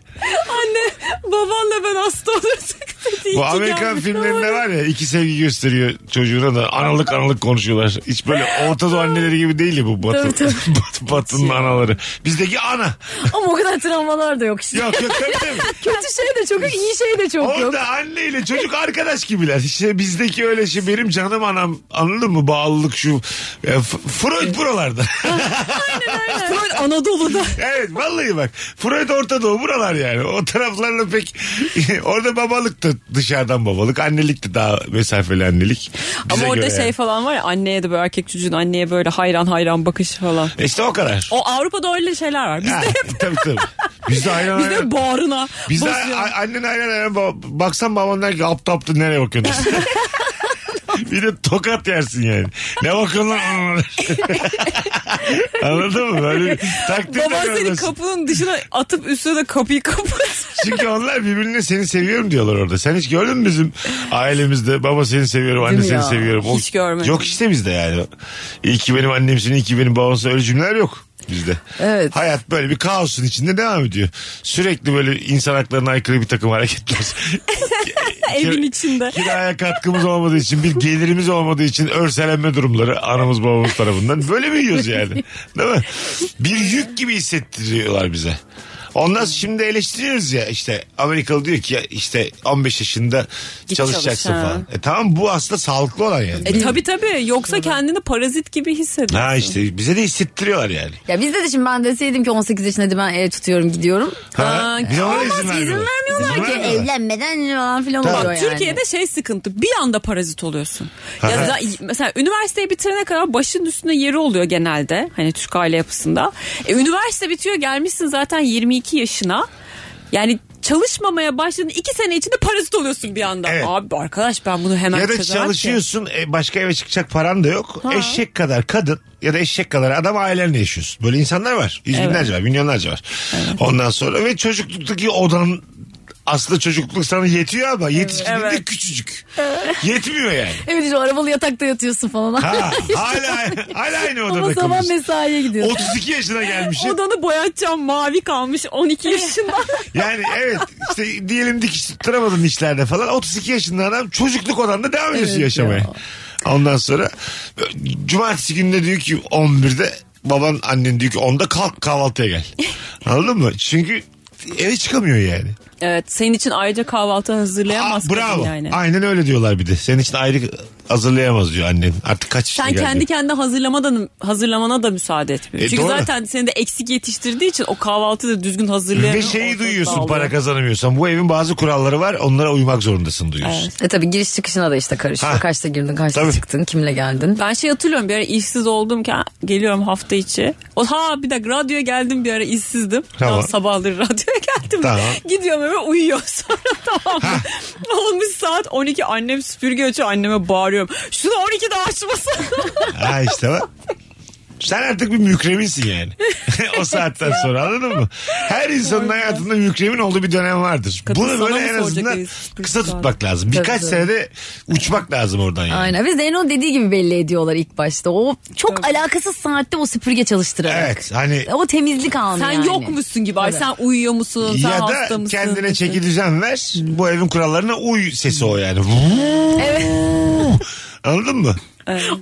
[SPEAKER 5] anne babanla ben hasta olursak dedi.
[SPEAKER 3] Bu Amerikan filmlerinde var ya iki sevgi gösteriyor çocuğuna da analık analık konuşuyorlar. Hiç böyle Orta Doğu anneleri gibi değil ya bu Batı.
[SPEAKER 4] Tabii, tabii. Şey.
[SPEAKER 3] Batı- Batı'nın anaları. Bizdeki ana.
[SPEAKER 4] Ama o kadar travmalar da yok işte.
[SPEAKER 3] Yok yok tabii tabii.
[SPEAKER 4] Kötü şey de çok yok, iyi şey de çok yok.
[SPEAKER 3] Orada anneyle çocuk arkadaş gibiler. İşte bizdeki öyle şey benim canım anam anladın mı bağlılık şu. E, F- Freud buralarda.
[SPEAKER 5] Freud Anadolu'da.
[SPEAKER 3] evet vallahi bak. Freud Orta Doğu buralar yani. O taraflarla pek orada babalık da dışarıdan babalık. Annelik de daha mesafeli annelik. Bize
[SPEAKER 5] Ama orada
[SPEAKER 3] göre
[SPEAKER 5] şey
[SPEAKER 3] yani.
[SPEAKER 5] falan var ya anneye de böyle erkek çocuğun anneye böyle hayran hayran bakışı falan.
[SPEAKER 3] İşte o kadar.
[SPEAKER 5] O Avrupa'da öyle şeyler var.
[SPEAKER 3] Ha,
[SPEAKER 5] Bizde
[SPEAKER 3] tabii tabii. Bizde aynen
[SPEAKER 5] bizde
[SPEAKER 3] aynen.
[SPEAKER 5] bağrına
[SPEAKER 3] Bizde
[SPEAKER 5] basıyor.
[SPEAKER 3] a- annen aynen aynen. ba- Baksan baban der ki aptı aptı nereye bakıyorsun? bir de tokat yersin yani. Ne bakıyorsun lan anana? Anladın mı? Böyle bir takdir de
[SPEAKER 5] Baban seni
[SPEAKER 3] görmez.
[SPEAKER 5] kapının dışına atıp üstüne de kapıyı kapatır.
[SPEAKER 3] Çünkü onlar birbirine seni seviyorum diyorlar orada. Sen hiç gördün mü bizim ailemizde baba seni seviyorum anne
[SPEAKER 4] mi
[SPEAKER 3] seni
[SPEAKER 4] ya?
[SPEAKER 3] seviyorum. O-
[SPEAKER 5] Hiç görmedim.
[SPEAKER 3] Yok işte bizde yani. İyi ki benim annemsin iyi ki benim babamsın öyle cümleler yok bizde.
[SPEAKER 4] Evet.
[SPEAKER 3] Hayat böyle bir kaosun içinde devam ediyor. Sürekli böyle insan haklarına aykırı bir takım hareketler.
[SPEAKER 5] Evin içinde.
[SPEAKER 3] Kiraya katkımız olmadığı için bir gelirimiz olmadığı için örselenme durumları anamız babamız tarafından. Böyle mi yiyoruz yani? Değil mi? Bir yük gibi hissettiriyorlar bize. Ondan sonra şimdi eleştiriyoruz ya işte Amerikalı diyor ki ya işte 15 yaşında
[SPEAKER 5] Git
[SPEAKER 3] çalışacaksın
[SPEAKER 5] çalış, ha.
[SPEAKER 3] falan. E tamam bu aslında sağlıklı olan yani.
[SPEAKER 5] E tabi tabi yoksa kendini parazit gibi hissediyor.
[SPEAKER 3] Ha işte bize de hissettiriyorlar yani.
[SPEAKER 4] Ya bizde de şimdi ben deseydim ki 18 yaşında hadi ben ev tutuyorum gidiyorum.
[SPEAKER 3] Ha, bir de ona izin
[SPEAKER 4] Olmaz izin
[SPEAKER 3] vermiyorlar. İzin
[SPEAKER 4] vermiyorlar ki
[SPEAKER 3] vermiyorlar.
[SPEAKER 4] evlenmeden falan filan
[SPEAKER 3] Tabii.
[SPEAKER 4] oluyor
[SPEAKER 5] Bak
[SPEAKER 4] yani.
[SPEAKER 5] Türkiye'de şey sıkıntı bir anda parazit oluyorsun. ya
[SPEAKER 3] Aha.
[SPEAKER 5] da- mesela üniversiteyi bitirene kadar başın üstünde yeri oluyor genelde. Hani Türk aile yapısında. E, üniversite bitiyor gelmişsin zaten 22 yaşına. Yani çalışmamaya başladın iki sene içinde parazit oluyorsun bir anda.
[SPEAKER 3] Evet.
[SPEAKER 5] Abi arkadaş ben bunu hemen
[SPEAKER 3] Ya da
[SPEAKER 5] çözemem ki.
[SPEAKER 3] çalışıyorsun e, başka eve çıkacak paran da yok. Eşek kadar kadın ya da eşek kadar adam ailenle yaşıyorsun. Böyle insanlar var. Yüz binlerce var milyonlarca var. Ondan sonra ve çocukluktaki odan aslında çocukluk sana yetiyor ama yetişkinliğinde
[SPEAKER 5] Evet.
[SPEAKER 3] küçücük. Yetmiyor yani.
[SPEAKER 4] Evet işte o arabalı yatakta yatıyorsun falan.
[SPEAKER 3] Ha, hala, hala aynı
[SPEAKER 4] Ama
[SPEAKER 3] odada
[SPEAKER 4] zaman
[SPEAKER 3] kalıyorsun.
[SPEAKER 4] mesaiye gidiyorsun.
[SPEAKER 3] 32 yaşına gelmişsin.
[SPEAKER 5] Odanı boyatacağım mavi kalmış 12 yaşında.
[SPEAKER 3] Yani evet işte diyelim dikiş tutturamadın işlerde falan 32 yaşında adam çocukluk odanda devam ediyorsun
[SPEAKER 4] Evet
[SPEAKER 3] yaşamaya.
[SPEAKER 4] ya.
[SPEAKER 3] Ondan sonra e, cumartesi günde diyor ki 11'de baban annen diyor ki 10'da kalk kahvaltıya gel. Anladın mı? Çünkü eve çıkamıyor yani.
[SPEAKER 5] evet senin için ayrıca kahvaltı hazırlayamaz
[SPEAKER 3] Aa,
[SPEAKER 5] kadın
[SPEAKER 3] bravo.
[SPEAKER 5] yani.
[SPEAKER 3] Aynen öyle diyorlar bir de. Senin için ayrı hazırlayamaz diyor annen. Artık kaç yaşına
[SPEAKER 5] Sen
[SPEAKER 3] geldi?
[SPEAKER 5] kendi kendine hazırlamadan hazırlamana da müsaade etmiyor.
[SPEAKER 3] E,
[SPEAKER 5] Çünkü
[SPEAKER 3] doğru.
[SPEAKER 5] zaten seni de eksik yetiştirdiği için o kahvaltı da düzgün hazırlayamıyor.
[SPEAKER 3] Ve şeyi
[SPEAKER 5] Ortada
[SPEAKER 3] duyuyorsun
[SPEAKER 5] dağılıyor.
[SPEAKER 3] para kazanamıyorsan. Bu evin bazı kuralları var onlara uymak zorundasın duyuyorsun.
[SPEAKER 4] E tabii giriş çıkışına da işte karışıyor.
[SPEAKER 3] Ha.
[SPEAKER 4] Kaçta girdin, kaçta
[SPEAKER 3] Tabii.
[SPEAKER 4] çıktın, kimle geldin.
[SPEAKER 5] Ben şey hatırlıyorum bir ara işsiz olduğumken geliyorum hafta içi. O ha bir dakika radyoya geldim bir ara işsizdim.
[SPEAKER 3] Tamam.
[SPEAKER 5] Tamam. Sabahları radyoya geldim.
[SPEAKER 3] Tamam.
[SPEAKER 5] Gidiyorum eve uyuyor sonra tamam mı? Olmuş saat 12 annem süpürge açıyor anneme bağırıyorum. Şunu 12'de açmasın.
[SPEAKER 3] Ha işte bak. Sen artık bir mükreminsin yani. o saatten sonra anladın mı? Her insanın hayatında mükremin olduğu bir dönem vardır.
[SPEAKER 5] Kadın
[SPEAKER 3] Bunu
[SPEAKER 5] sana
[SPEAKER 3] böyle
[SPEAKER 5] mı
[SPEAKER 3] en
[SPEAKER 5] soracak
[SPEAKER 3] azından
[SPEAKER 5] Enis?
[SPEAKER 3] kısa
[SPEAKER 5] Kız
[SPEAKER 3] tutmak lazım. Birkaç
[SPEAKER 4] tabii.
[SPEAKER 3] senede uçmak lazım oradan yani.
[SPEAKER 4] Aynen. Biz de onun dediği gibi belli ediyorlar ilk başta. O çok alakasız saatte o süpürge çalıştırarak.
[SPEAKER 3] Evet hani
[SPEAKER 4] O temizlik anı
[SPEAKER 5] sen
[SPEAKER 4] yani.
[SPEAKER 5] yok musun gibi. Ay, Sen uyuyor musun? Sen
[SPEAKER 3] ya
[SPEAKER 5] hasta
[SPEAKER 3] da
[SPEAKER 5] mısın?
[SPEAKER 3] kendine çeki düzen ver. Bu evin kurallarına uy sesi o yani. Anladın mı?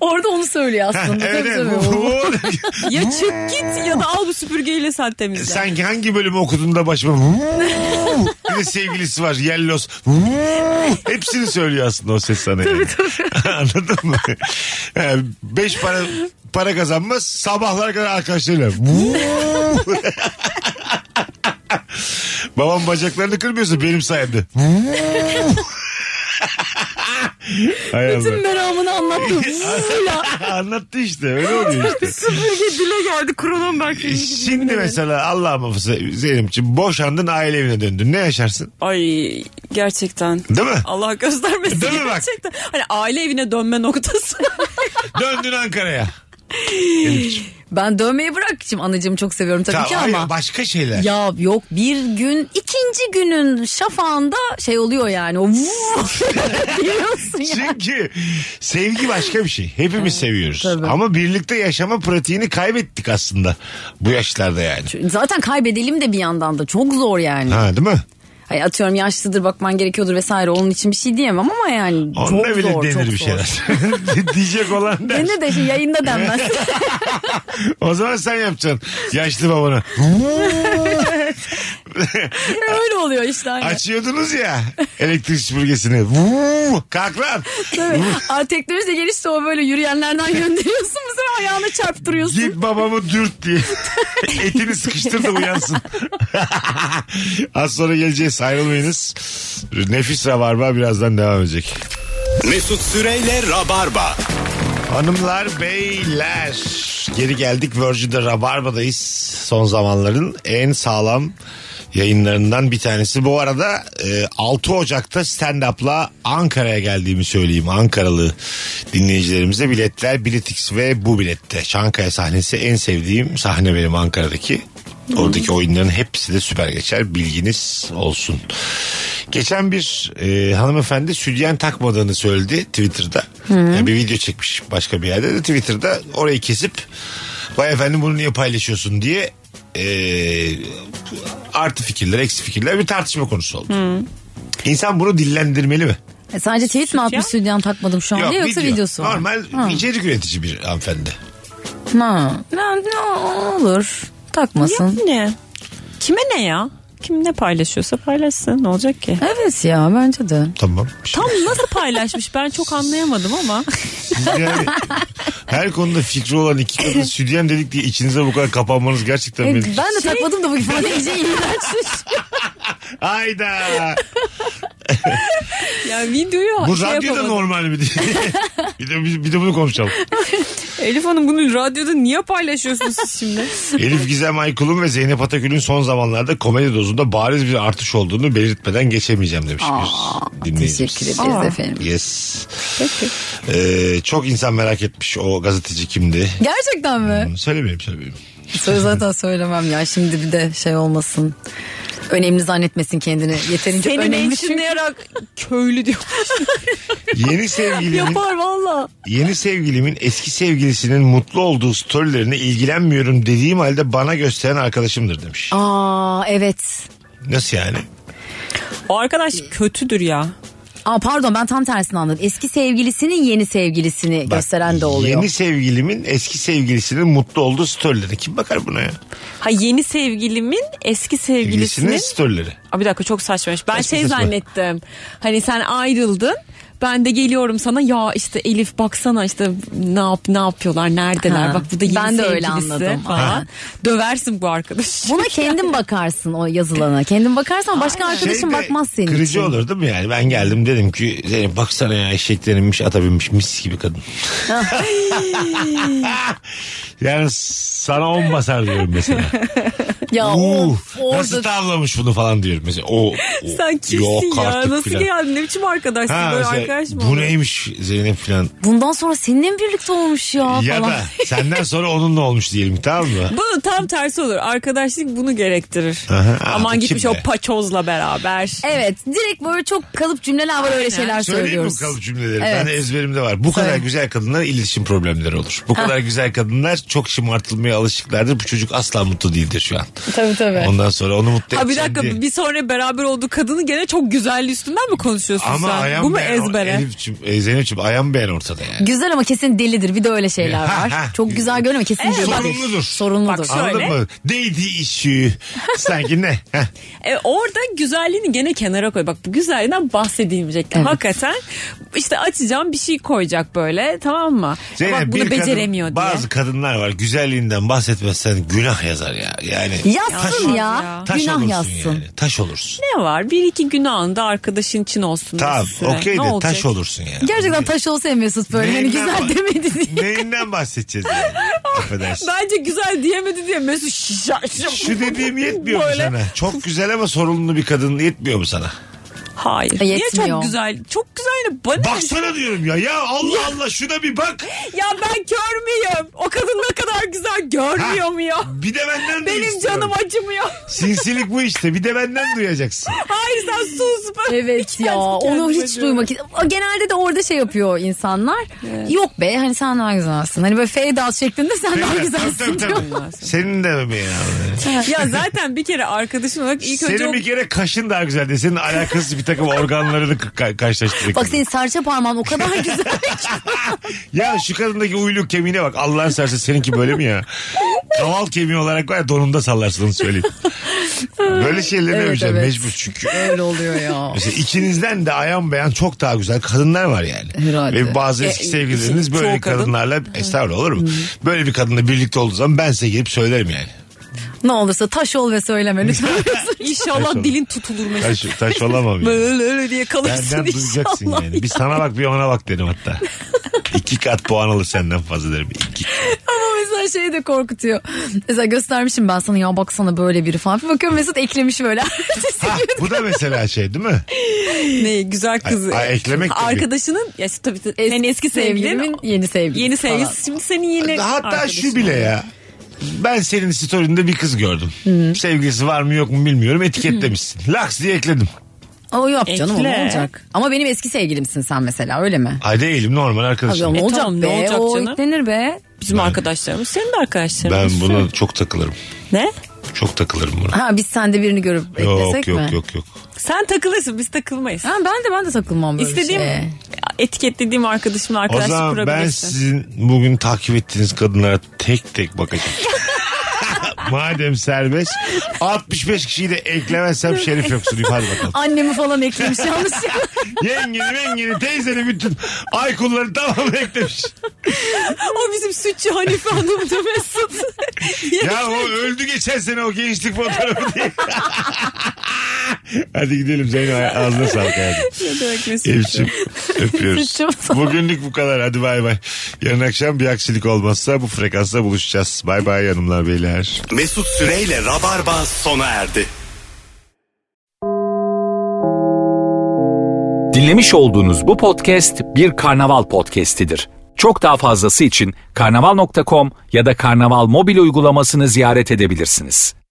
[SPEAKER 4] Orada onu söylüyor
[SPEAKER 3] Ha,
[SPEAKER 4] aslında.
[SPEAKER 3] evet,
[SPEAKER 4] Tabii
[SPEAKER 3] evet.
[SPEAKER 4] tabii.
[SPEAKER 5] Ya çık git ya da al bu süpürgeyle sen temizle.
[SPEAKER 3] Sanki hangi bölümü okudun da başıma bir de sevgilisi var Yellos hepsini söylüyor aslında o ses sana yani. anladın mı Yani beş para para kazanmaz sabahlara kadar arkadaşlarıyla babam bacaklarını kırmıyorsa benim sayemde Hay Allah.
[SPEAKER 4] Bütün meramını anlattım.
[SPEAKER 3] Anlattı işte öyle oluyor işte.
[SPEAKER 5] süpürge dile geldi Kronenberg
[SPEAKER 3] E, Şimdi mesela Allah muhafaza Zeynep'ciğim boşandın aile evine döndün. Ne yaşarsın?
[SPEAKER 5] Ay gerçekten.
[SPEAKER 3] Değil mi?
[SPEAKER 5] Allah göstermesin
[SPEAKER 3] Değil mi bak?
[SPEAKER 5] gerçekten. Hani aile evine dönme noktası.
[SPEAKER 3] Döndün Ankara'ya.
[SPEAKER 4] Ben dövmeyi bırak şimdi anacığım çok seviyorum tabii
[SPEAKER 3] Tamam,
[SPEAKER 4] ki
[SPEAKER 3] hayır,
[SPEAKER 4] ama.
[SPEAKER 3] başka şeyler.
[SPEAKER 4] Ya yok bir gün ikinci günün şafağında şey oluyor yani o biliyorsun ya.
[SPEAKER 3] Çünkü sevgi başka bir şey. Hepimiz seviyoruz.
[SPEAKER 4] tabii.
[SPEAKER 3] Ama birlikte yaşama pratiğini kaybettik aslında. Bu yaşlarda yani.
[SPEAKER 4] Zaten kaybedelim de bir yandan da çok zor yani.
[SPEAKER 3] Ha değil mi?
[SPEAKER 4] Hani atıyorum yaşlıdır bakman gerekiyordur vesaire onun için bir şey diyemem ama yani çok
[SPEAKER 3] Onunla bile
[SPEAKER 4] zor çok
[SPEAKER 3] denir bir
[SPEAKER 4] zor.
[SPEAKER 3] şeyler. Diyecek olan der.
[SPEAKER 4] Denir de şey yayında denmez.
[SPEAKER 3] O zaman sen yapacaksın. Yaşlı babana.
[SPEAKER 4] Öyle oluyor işte. hani.
[SPEAKER 3] Açıyordunuz ya elektrik süpürgesini. Vuu, Kalk lan.
[SPEAKER 4] Tabii. Aa, teknoloji de gelişti o böyle yürüyenlerden gönderiyorsun bu sefer ayağına çarptırıyorsun.
[SPEAKER 3] Git babamı dürt diye. Etini sıkıştır da uyansın. Az sonra geleceğiz ayrılmayınız. Nefis rabarba birazdan devam edecek.
[SPEAKER 2] Mesut Süreyle Rabarba.
[SPEAKER 3] Hanımlar beyler geri geldik Virgin'de Rabarba'dayız son zamanların en sağlam yayınlarından bir tanesi. Bu arada e, 6 Ocak'ta stand-up'la Ankara'ya geldiğimi söyleyeyim. Ankaralı dinleyicilerimize biletler Biletix ve bu bilette. Çankaya sahnesi en sevdiğim sahne benim Ankara'daki. Oradaki oyunların hepsi de süper geçer. Bilginiz olsun. Geçen bir e, hanımefendi sütyen takmadığını söyledi Twitter'da. Yani bir video çekmiş başka bir yerde de Twitter'da orayı kesip vay efendim bunu niye paylaşıyorsun diye e, artı fikirler eksi fikirler bir tartışma konusu oldu. İnsan bunu dillendirmeli mi?
[SPEAKER 4] E, sadece tweet mi atmış stüdyan takmadım şu an diye yoksa
[SPEAKER 3] video.
[SPEAKER 4] videosu var.
[SPEAKER 3] Normal
[SPEAKER 4] Ha.
[SPEAKER 3] içerik üretici bir hanımefendi.
[SPEAKER 4] Ha. Ne, ne olur takmasın.
[SPEAKER 6] Ne? Kime ne ya? Kim ne paylaşıyorsa paylaşsın. Ne olacak ki?
[SPEAKER 4] Evet ya bence de.
[SPEAKER 3] Tamam. şey
[SPEAKER 5] Tam nasıl paylaşmış ben çok anlayamadım ama.
[SPEAKER 3] Yani her konuda fikri olan iki kadın sütyen dedik diye içinize bu kadar kapanmanız gerçekten
[SPEAKER 4] E,
[SPEAKER 3] beni...
[SPEAKER 4] ben de takmadım da bu ifade iyice iğrençmiş.
[SPEAKER 3] Hayda.
[SPEAKER 5] Ya videoyu
[SPEAKER 3] Bu
[SPEAKER 5] şey
[SPEAKER 3] radyoda
[SPEAKER 5] yapamadım.
[SPEAKER 3] normal mi diye. bir, de, bir de bunu konuşalım.
[SPEAKER 5] Elif Hanım bunu radyoda niye paylaşıyorsunuz siz şimdi?
[SPEAKER 3] Elif Gizem Aykul'un ve Zeynep Atakül'ün son zamanlarda komedi dozunda bariz bir artış olduğunu belirtmeden geçemeyeceğim demiş bir dinleyicimiz.
[SPEAKER 4] Teşekkür ederiz efendim.
[SPEAKER 3] Yes. Ee, çok insan merak etmiş o gazeteci kimdi.
[SPEAKER 4] Gerçekten mi?
[SPEAKER 3] Söylemeyeyim söylemeyeyim.
[SPEAKER 4] Söyle zaten söylemem ya. Şimdi bir de şey olmasın. Önemli zannetmesin kendini. Yeterince önemli çünkü.
[SPEAKER 5] yarak köylü diyor.
[SPEAKER 3] Yeni sevgilimin
[SPEAKER 5] Yapar valla.
[SPEAKER 3] Yeni sevgilimin eski sevgilisinin mutlu olduğu storylerine ilgilenmiyorum dediğim halde bana gösteren arkadaşımdır demiş.
[SPEAKER 4] Aa evet.
[SPEAKER 3] Nasıl yani?
[SPEAKER 5] O arkadaş
[SPEAKER 3] Ee.
[SPEAKER 5] kötüdür ya.
[SPEAKER 4] Aa pardon ben tam tersini anladım. Eski sevgilisinin yeni sevgilisini
[SPEAKER 3] Bak,
[SPEAKER 4] gösteren de oluyor.
[SPEAKER 3] Yeni sevgilimin eski sevgilisinin mutlu olduğu storylerine. Kim bakar buna ya?
[SPEAKER 5] Ha yeni sevgilimin eski
[SPEAKER 3] Sevgilisinin
[SPEAKER 5] sevgilisinin.
[SPEAKER 3] storyleri.
[SPEAKER 5] Aa, bir dakika çok saçmamış. Ben
[SPEAKER 3] Saçma
[SPEAKER 5] şey
[SPEAKER 3] saçma.
[SPEAKER 5] zannettim. Hani sen ayrıldın. Ben de geliyorum sana ya işte Elif baksana işte ne yap ne yapıyorlar neredeler
[SPEAKER 4] Ha,
[SPEAKER 5] bak bu da yeni
[SPEAKER 4] ben de öyle
[SPEAKER 5] sevgilisi
[SPEAKER 4] anladım.
[SPEAKER 5] falan.
[SPEAKER 4] Ha.
[SPEAKER 5] Döversin bu arkadaşı.
[SPEAKER 4] Buna kendin bakarsın o yazılana. Kendin bakarsan başka arkadaşın
[SPEAKER 3] Şey de
[SPEAKER 4] bakmaz senin
[SPEAKER 3] Kırıcı
[SPEAKER 4] için.
[SPEAKER 3] olur değil mi yani? Ben geldim dedim ki Zeynep baksana ya eşekten inmiş ata binmiş mis gibi kadın. yani sana on basar diyorum mesela.
[SPEAKER 4] Ya
[SPEAKER 3] Uh,
[SPEAKER 4] of, orada
[SPEAKER 3] nasıl tavlamış bunu falan diyorum mesela. O, o,
[SPEAKER 5] Sen kimsin
[SPEAKER 3] yok
[SPEAKER 5] ya
[SPEAKER 3] artık
[SPEAKER 5] nasıl
[SPEAKER 3] filan.
[SPEAKER 5] geldin ne biçim arkadaşsın
[SPEAKER 3] Ha,
[SPEAKER 5] böyle
[SPEAKER 3] mesela,
[SPEAKER 5] arkadaş mı?
[SPEAKER 3] bu
[SPEAKER 5] olur?
[SPEAKER 3] neymiş Zeynep filan
[SPEAKER 4] bundan sonra seninle mi birlikte olmuş ya,
[SPEAKER 3] ya
[SPEAKER 4] falan.
[SPEAKER 3] da senden sonra onunla olmuş diyelim tamam mı?
[SPEAKER 5] Bunun tam tersi olur. Arkadaşlık bunu gerektirir.
[SPEAKER 3] Aha, aa, bu
[SPEAKER 5] Aman gitmiş
[SPEAKER 3] kimdi?
[SPEAKER 5] o paçozla beraber.
[SPEAKER 4] Evet direkt böyle çok kalıp cümleler var öyle şeyler
[SPEAKER 3] Söyleyeyim mi
[SPEAKER 4] söylüyoruz.
[SPEAKER 3] kalıp cümleleri?
[SPEAKER 4] Evet.
[SPEAKER 3] Ben de ezberimde var. Bu kadar
[SPEAKER 4] Söyle.
[SPEAKER 3] güzel kadınlar iletişim problemleri olur.
[SPEAKER 5] Ah.
[SPEAKER 3] Bu kadar güzel kadınlar çok şımartılmaya alışıklardır. Bu çocuk asla mutlu değildir şu an.
[SPEAKER 4] Tabii tabii.
[SPEAKER 3] Ondan sonra onu mutlu
[SPEAKER 5] Ha, bir
[SPEAKER 3] edeceğim
[SPEAKER 5] dakika
[SPEAKER 3] diye.
[SPEAKER 5] bir sonra beraber olduğu kadını gene çok güzelliği üstünden mi konuşuyorsun
[SPEAKER 3] Ama
[SPEAKER 5] sen?
[SPEAKER 3] ayağım
[SPEAKER 5] Bu mu ezbere?
[SPEAKER 3] Elif'ciğim, e, Zeynep'ciğim ayağım beğen ortada yani.
[SPEAKER 4] Güzel ama kesin delidir. Bir de öyle şeyler
[SPEAKER 3] Ha,
[SPEAKER 4] var.
[SPEAKER 3] ha.
[SPEAKER 4] Çok güzel görünüyor ama kesin delidir.
[SPEAKER 3] Sorumludur.
[SPEAKER 4] Sorumludur.
[SPEAKER 5] Bak,
[SPEAKER 3] Anladın
[SPEAKER 5] Söyle.
[SPEAKER 3] mı? Değdiği işi. Sanki ne? Heh.
[SPEAKER 5] E, orada güzelliğini gene kenara koy. Bak bu güzelliğinden bahsedilmeyecek.
[SPEAKER 4] Evet.
[SPEAKER 5] Hakikaten işte açacağım bir şey koyacak böyle tamam mı?
[SPEAKER 3] Zeynep
[SPEAKER 5] Bak
[SPEAKER 3] bir
[SPEAKER 5] bunu beceremiyor
[SPEAKER 3] kadın,
[SPEAKER 5] diye.
[SPEAKER 3] Bazı kadınlar var güzelliğinden bahsetmezsen günah yazar ya. Yani
[SPEAKER 4] Yazsın
[SPEAKER 5] Taş-
[SPEAKER 4] ya.
[SPEAKER 5] Ya.
[SPEAKER 3] taş
[SPEAKER 4] Günah
[SPEAKER 3] olursun
[SPEAKER 4] yazsın.
[SPEAKER 3] yani. Taş olursun.
[SPEAKER 5] Ne var? Bir iki günahında arkadaşın için olsun.
[SPEAKER 3] Tamam
[SPEAKER 5] bir süre.
[SPEAKER 3] okey
[SPEAKER 5] Ne
[SPEAKER 3] de
[SPEAKER 5] olacak?
[SPEAKER 3] taş olursun yani.
[SPEAKER 4] Gerçekten taş olsa Mesut böyle. Hani
[SPEAKER 3] Neyinden
[SPEAKER 4] güzel
[SPEAKER 3] bak-
[SPEAKER 4] demedi diye.
[SPEAKER 3] Neyinden bahsedeceğiz yani? Affedersin.
[SPEAKER 5] Bence güzel diyemedi diye Mesut şaşırmış.
[SPEAKER 3] Şu dediğim yetmiyor mu
[SPEAKER 5] Böyle.
[SPEAKER 3] sana? Çok güzel ama sorunlu bir kadın yetmiyor mu sana?
[SPEAKER 5] Hayır.
[SPEAKER 4] E,
[SPEAKER 5] Niye
[SPEAKER 4] yetmiyor.
[SPEAKER 5] çok güzel? Çok güzel ne? Bana ne?
[SPEAKER 3] Baksana diyorum ya. Ya Allah Allah şuna bir bak.
[SPEAKER 5] Ya ben kör müyüm? O kadın ne kadar güzel görmüyor mu ya?
[SPEAKER 3] Bir de benden duy
[SPEAKER 5] Benim
[SPEAKER 3] istiyorum.
[SPEAKER 5] canım acımıyor.
[SPEAKER 3] Sinsilik bu işte. Bir de benden duyacaksın.
[SPEAKER 5] Hayır sen sus. Ben
[SPEAKER 4] Evet
[SPEAKER 5] hiç
[SPEAKER 4] ya
[SPEAKER 5] kendimi
[SPEAKER 4] onu
[SPEAKER 5] kendime
[SPEAKER 4] hiç
[SPEAKER 5] diyorum.
[SPEAKER 4] duymak genelde de orada şey yapıyor insanlar. Yok be hani sen daha güzelsin. Hani böyle fade out şeklinde sen daha güzelsin
[SPEAKER 3] Tabii, tabii,
[SPEAKER 4] diyor.
[SPEAKER 3] tabii. Senin de mi ya?
[SPEAKER 5] Ya zaten bir kere arkadaşın olarak ilk önce
[SPEAKER 3] Senin
[SPEAKER 5] o
[SPEAKER 3] bir kere kaşın daha güzel diye. Senin alakasız bir takım organlarını ka- karşılaştırdık.
[SPEAKER 4] Bak senin serçe parmağın o kadar güzel.
[SPEAKER 3] Ya şu kadındaki uyluk kemiğine bak. Allah'ın serse seninki böyle mi ya? Kaval kemiği olarak var ya donunda sallarsın onu söyleyeyim. Böyle şeyleri
[SPEAKER 4] Evet,
[SPEAKER 3] öveceğim
[SPEAKER 4] evet.
[SPEAKER 3] mecbur çünkü.
[SPEAKER 4] Öyle oluyor ya.
[SPEAKER 3] Mesela ikinizden de ayan beyan çok daha güzel kadınlar var yani.
[SPEAKER 4] Herhalde.
[SPEAKER 3] Ve bazı eski
[SPEAKER 5] E,
[SPEAKER 3] sevgilileriniz
[SPEAKER 5] çoğu
[SPEAKER 3] böyle bir
[SPEAKER 5] kadın.
[SPEAKER 3] kadınlarla estağfurullah olur mu? Böyle bir kadınla birlikte olduğu zaman ben size gelip söylerim yani.
[SPEAKER 4] ne olursa taş ol ve söyleme lütfen.
[SPEAKER 5] inşallah dilin tutulur mesela.
[SPEAKER 3] Taş, taş olamam yani.
[SPEAKER 5] Böyle öyle diye kalırsın
[SPEAKER 3] Benden duyacaksın
[SPEAKER 5] inşallah.
[SPEAKER 3] yani. Bir sana bak bir ona bak derim hatta. İki kat puan alır senden fazla derim. İki.
[SPEAKER 4] Mesela şey de korkutuyor. Mesela göstermişim ben sana ya baksana böyle biri falan. Bir bakıyorum Mesut eklemiş böyle.
[SPEAKER 3] Ha, bu da mesela şey değil mi?
[SPEAKER 5] Ne güzel kız.
[SPEAKER 3] Ay- ay, eklemek tabii.
[SPEAKER 5] Arkadaşının ya tabii tabii, yani eski sevgilinin
[SPEAKER 4] Sevgilimin yeni sevgilisi
[SPEAKER 5] yeni
[SPEAKER 4] falan.
[SPEAKER 5] sevgilisi şimdi senin yeni
[SPEAKER 3] Hatta şu
[SPEAKER 5] arkadaşın.
[SPEAKER 3] bile ya. Ben senin story'inde bir kız gördüm. Sevgilisi var mı yok mu bilmiyorum. Etiketlemişsin. Laks diye ekledim.
[SPEAKER 4] O yok canım o ne
[SPEAKER 5] Ekle.
[SPEAKER 4] olacak? Ama benim eski sevgilimsin sen mesela öyle mi?
[SPEAKER 3] Ay değilim normal arkadaşım.
[SPEAKER 4] Abi, ne
[SPEAKER 5] E,
[SPEAKER 4] olacak
[SPEAKER 5] tamam,
[SPEAKER 4] be?
[SPEAKER 5] ne olacak
[SPEAKER 4] o
[SPEAKER 5] canım?
[SPEAKER 4] eklenir be.
[SPEAKER 5] Bizim arkadaşlarımız senin de
[SPEAKER 3] Ben
[SPEAKER 5] arkadaşlarımız.
[SPEAKER 3] buna çok takılırım.
[SPEAKER 5] Ne?
[SPEAKER 3] Çok takılırım buna.
[SPEAKER 4] Ha biz sende birini görüp
[SPEAKER 3] Yok
[SPEAKER 4] beklesek mi?
[SPEAKER 3] yok yok yok.
[SPEAKER 5] Sen takılırsın biz takılmayız.
[SPEAKER 4] Ha, ben de ben de takılmam böyle şey.
[SPEAKER 5] İstediğim
[SPEAKER 4] şeye.
[SPEAKER 5] etiketlediğim arkadaşımla
[SPEAKER 3] O
[SPEAKER 5] arkadaşlık
[SPEAKER 3] zaman ben
[SPEAKER 5] kurabilirsin.
[SPEAKER 3] sizin bugün takip ettiğiniz kadınlara tek tek bakacağım. Madem serbest 65 kişiyi de eklemezsem şerif yoksun hadi bakalım.
[SPEAKER 4] Annemi falan eklemiş yanlış.
[SPEAKER 3] Yengeni mengeni teyzeni bütün aykulları tamam eklemiş.
[SPEAKER 5] O bizim sütçü Hanife Hanım'dı Mesut.
[SPEAKER 3] Ya o öldü geçen sene o gençlik fotoğrafı diye. Hadi gidelim Zeynep ağzına sağlık hayatım.
[SPEAKER 5] Ne demek Mesut?
[SPEAKER 3] Evçim öpüyoruz.
[SPEAKER 4] Suçum
[SPEAKER 3] Bugünlük bu kadar hadi bay bay. Yarın akşam bir aksilik olmazsa bu frekansla buluşacağız. Bay bay hanımlar beyler.
[SPEAKER 2] Mesut Süreyle Rabarba sona erdi.
[SPEAKER 1] Dinlemiş olduğunuz bu podcast bir karnaval podcastidir. Çok daha fazlası için karnaval.com ya da karnaval mobil uygulamasını ziyaret edebilirsiniz.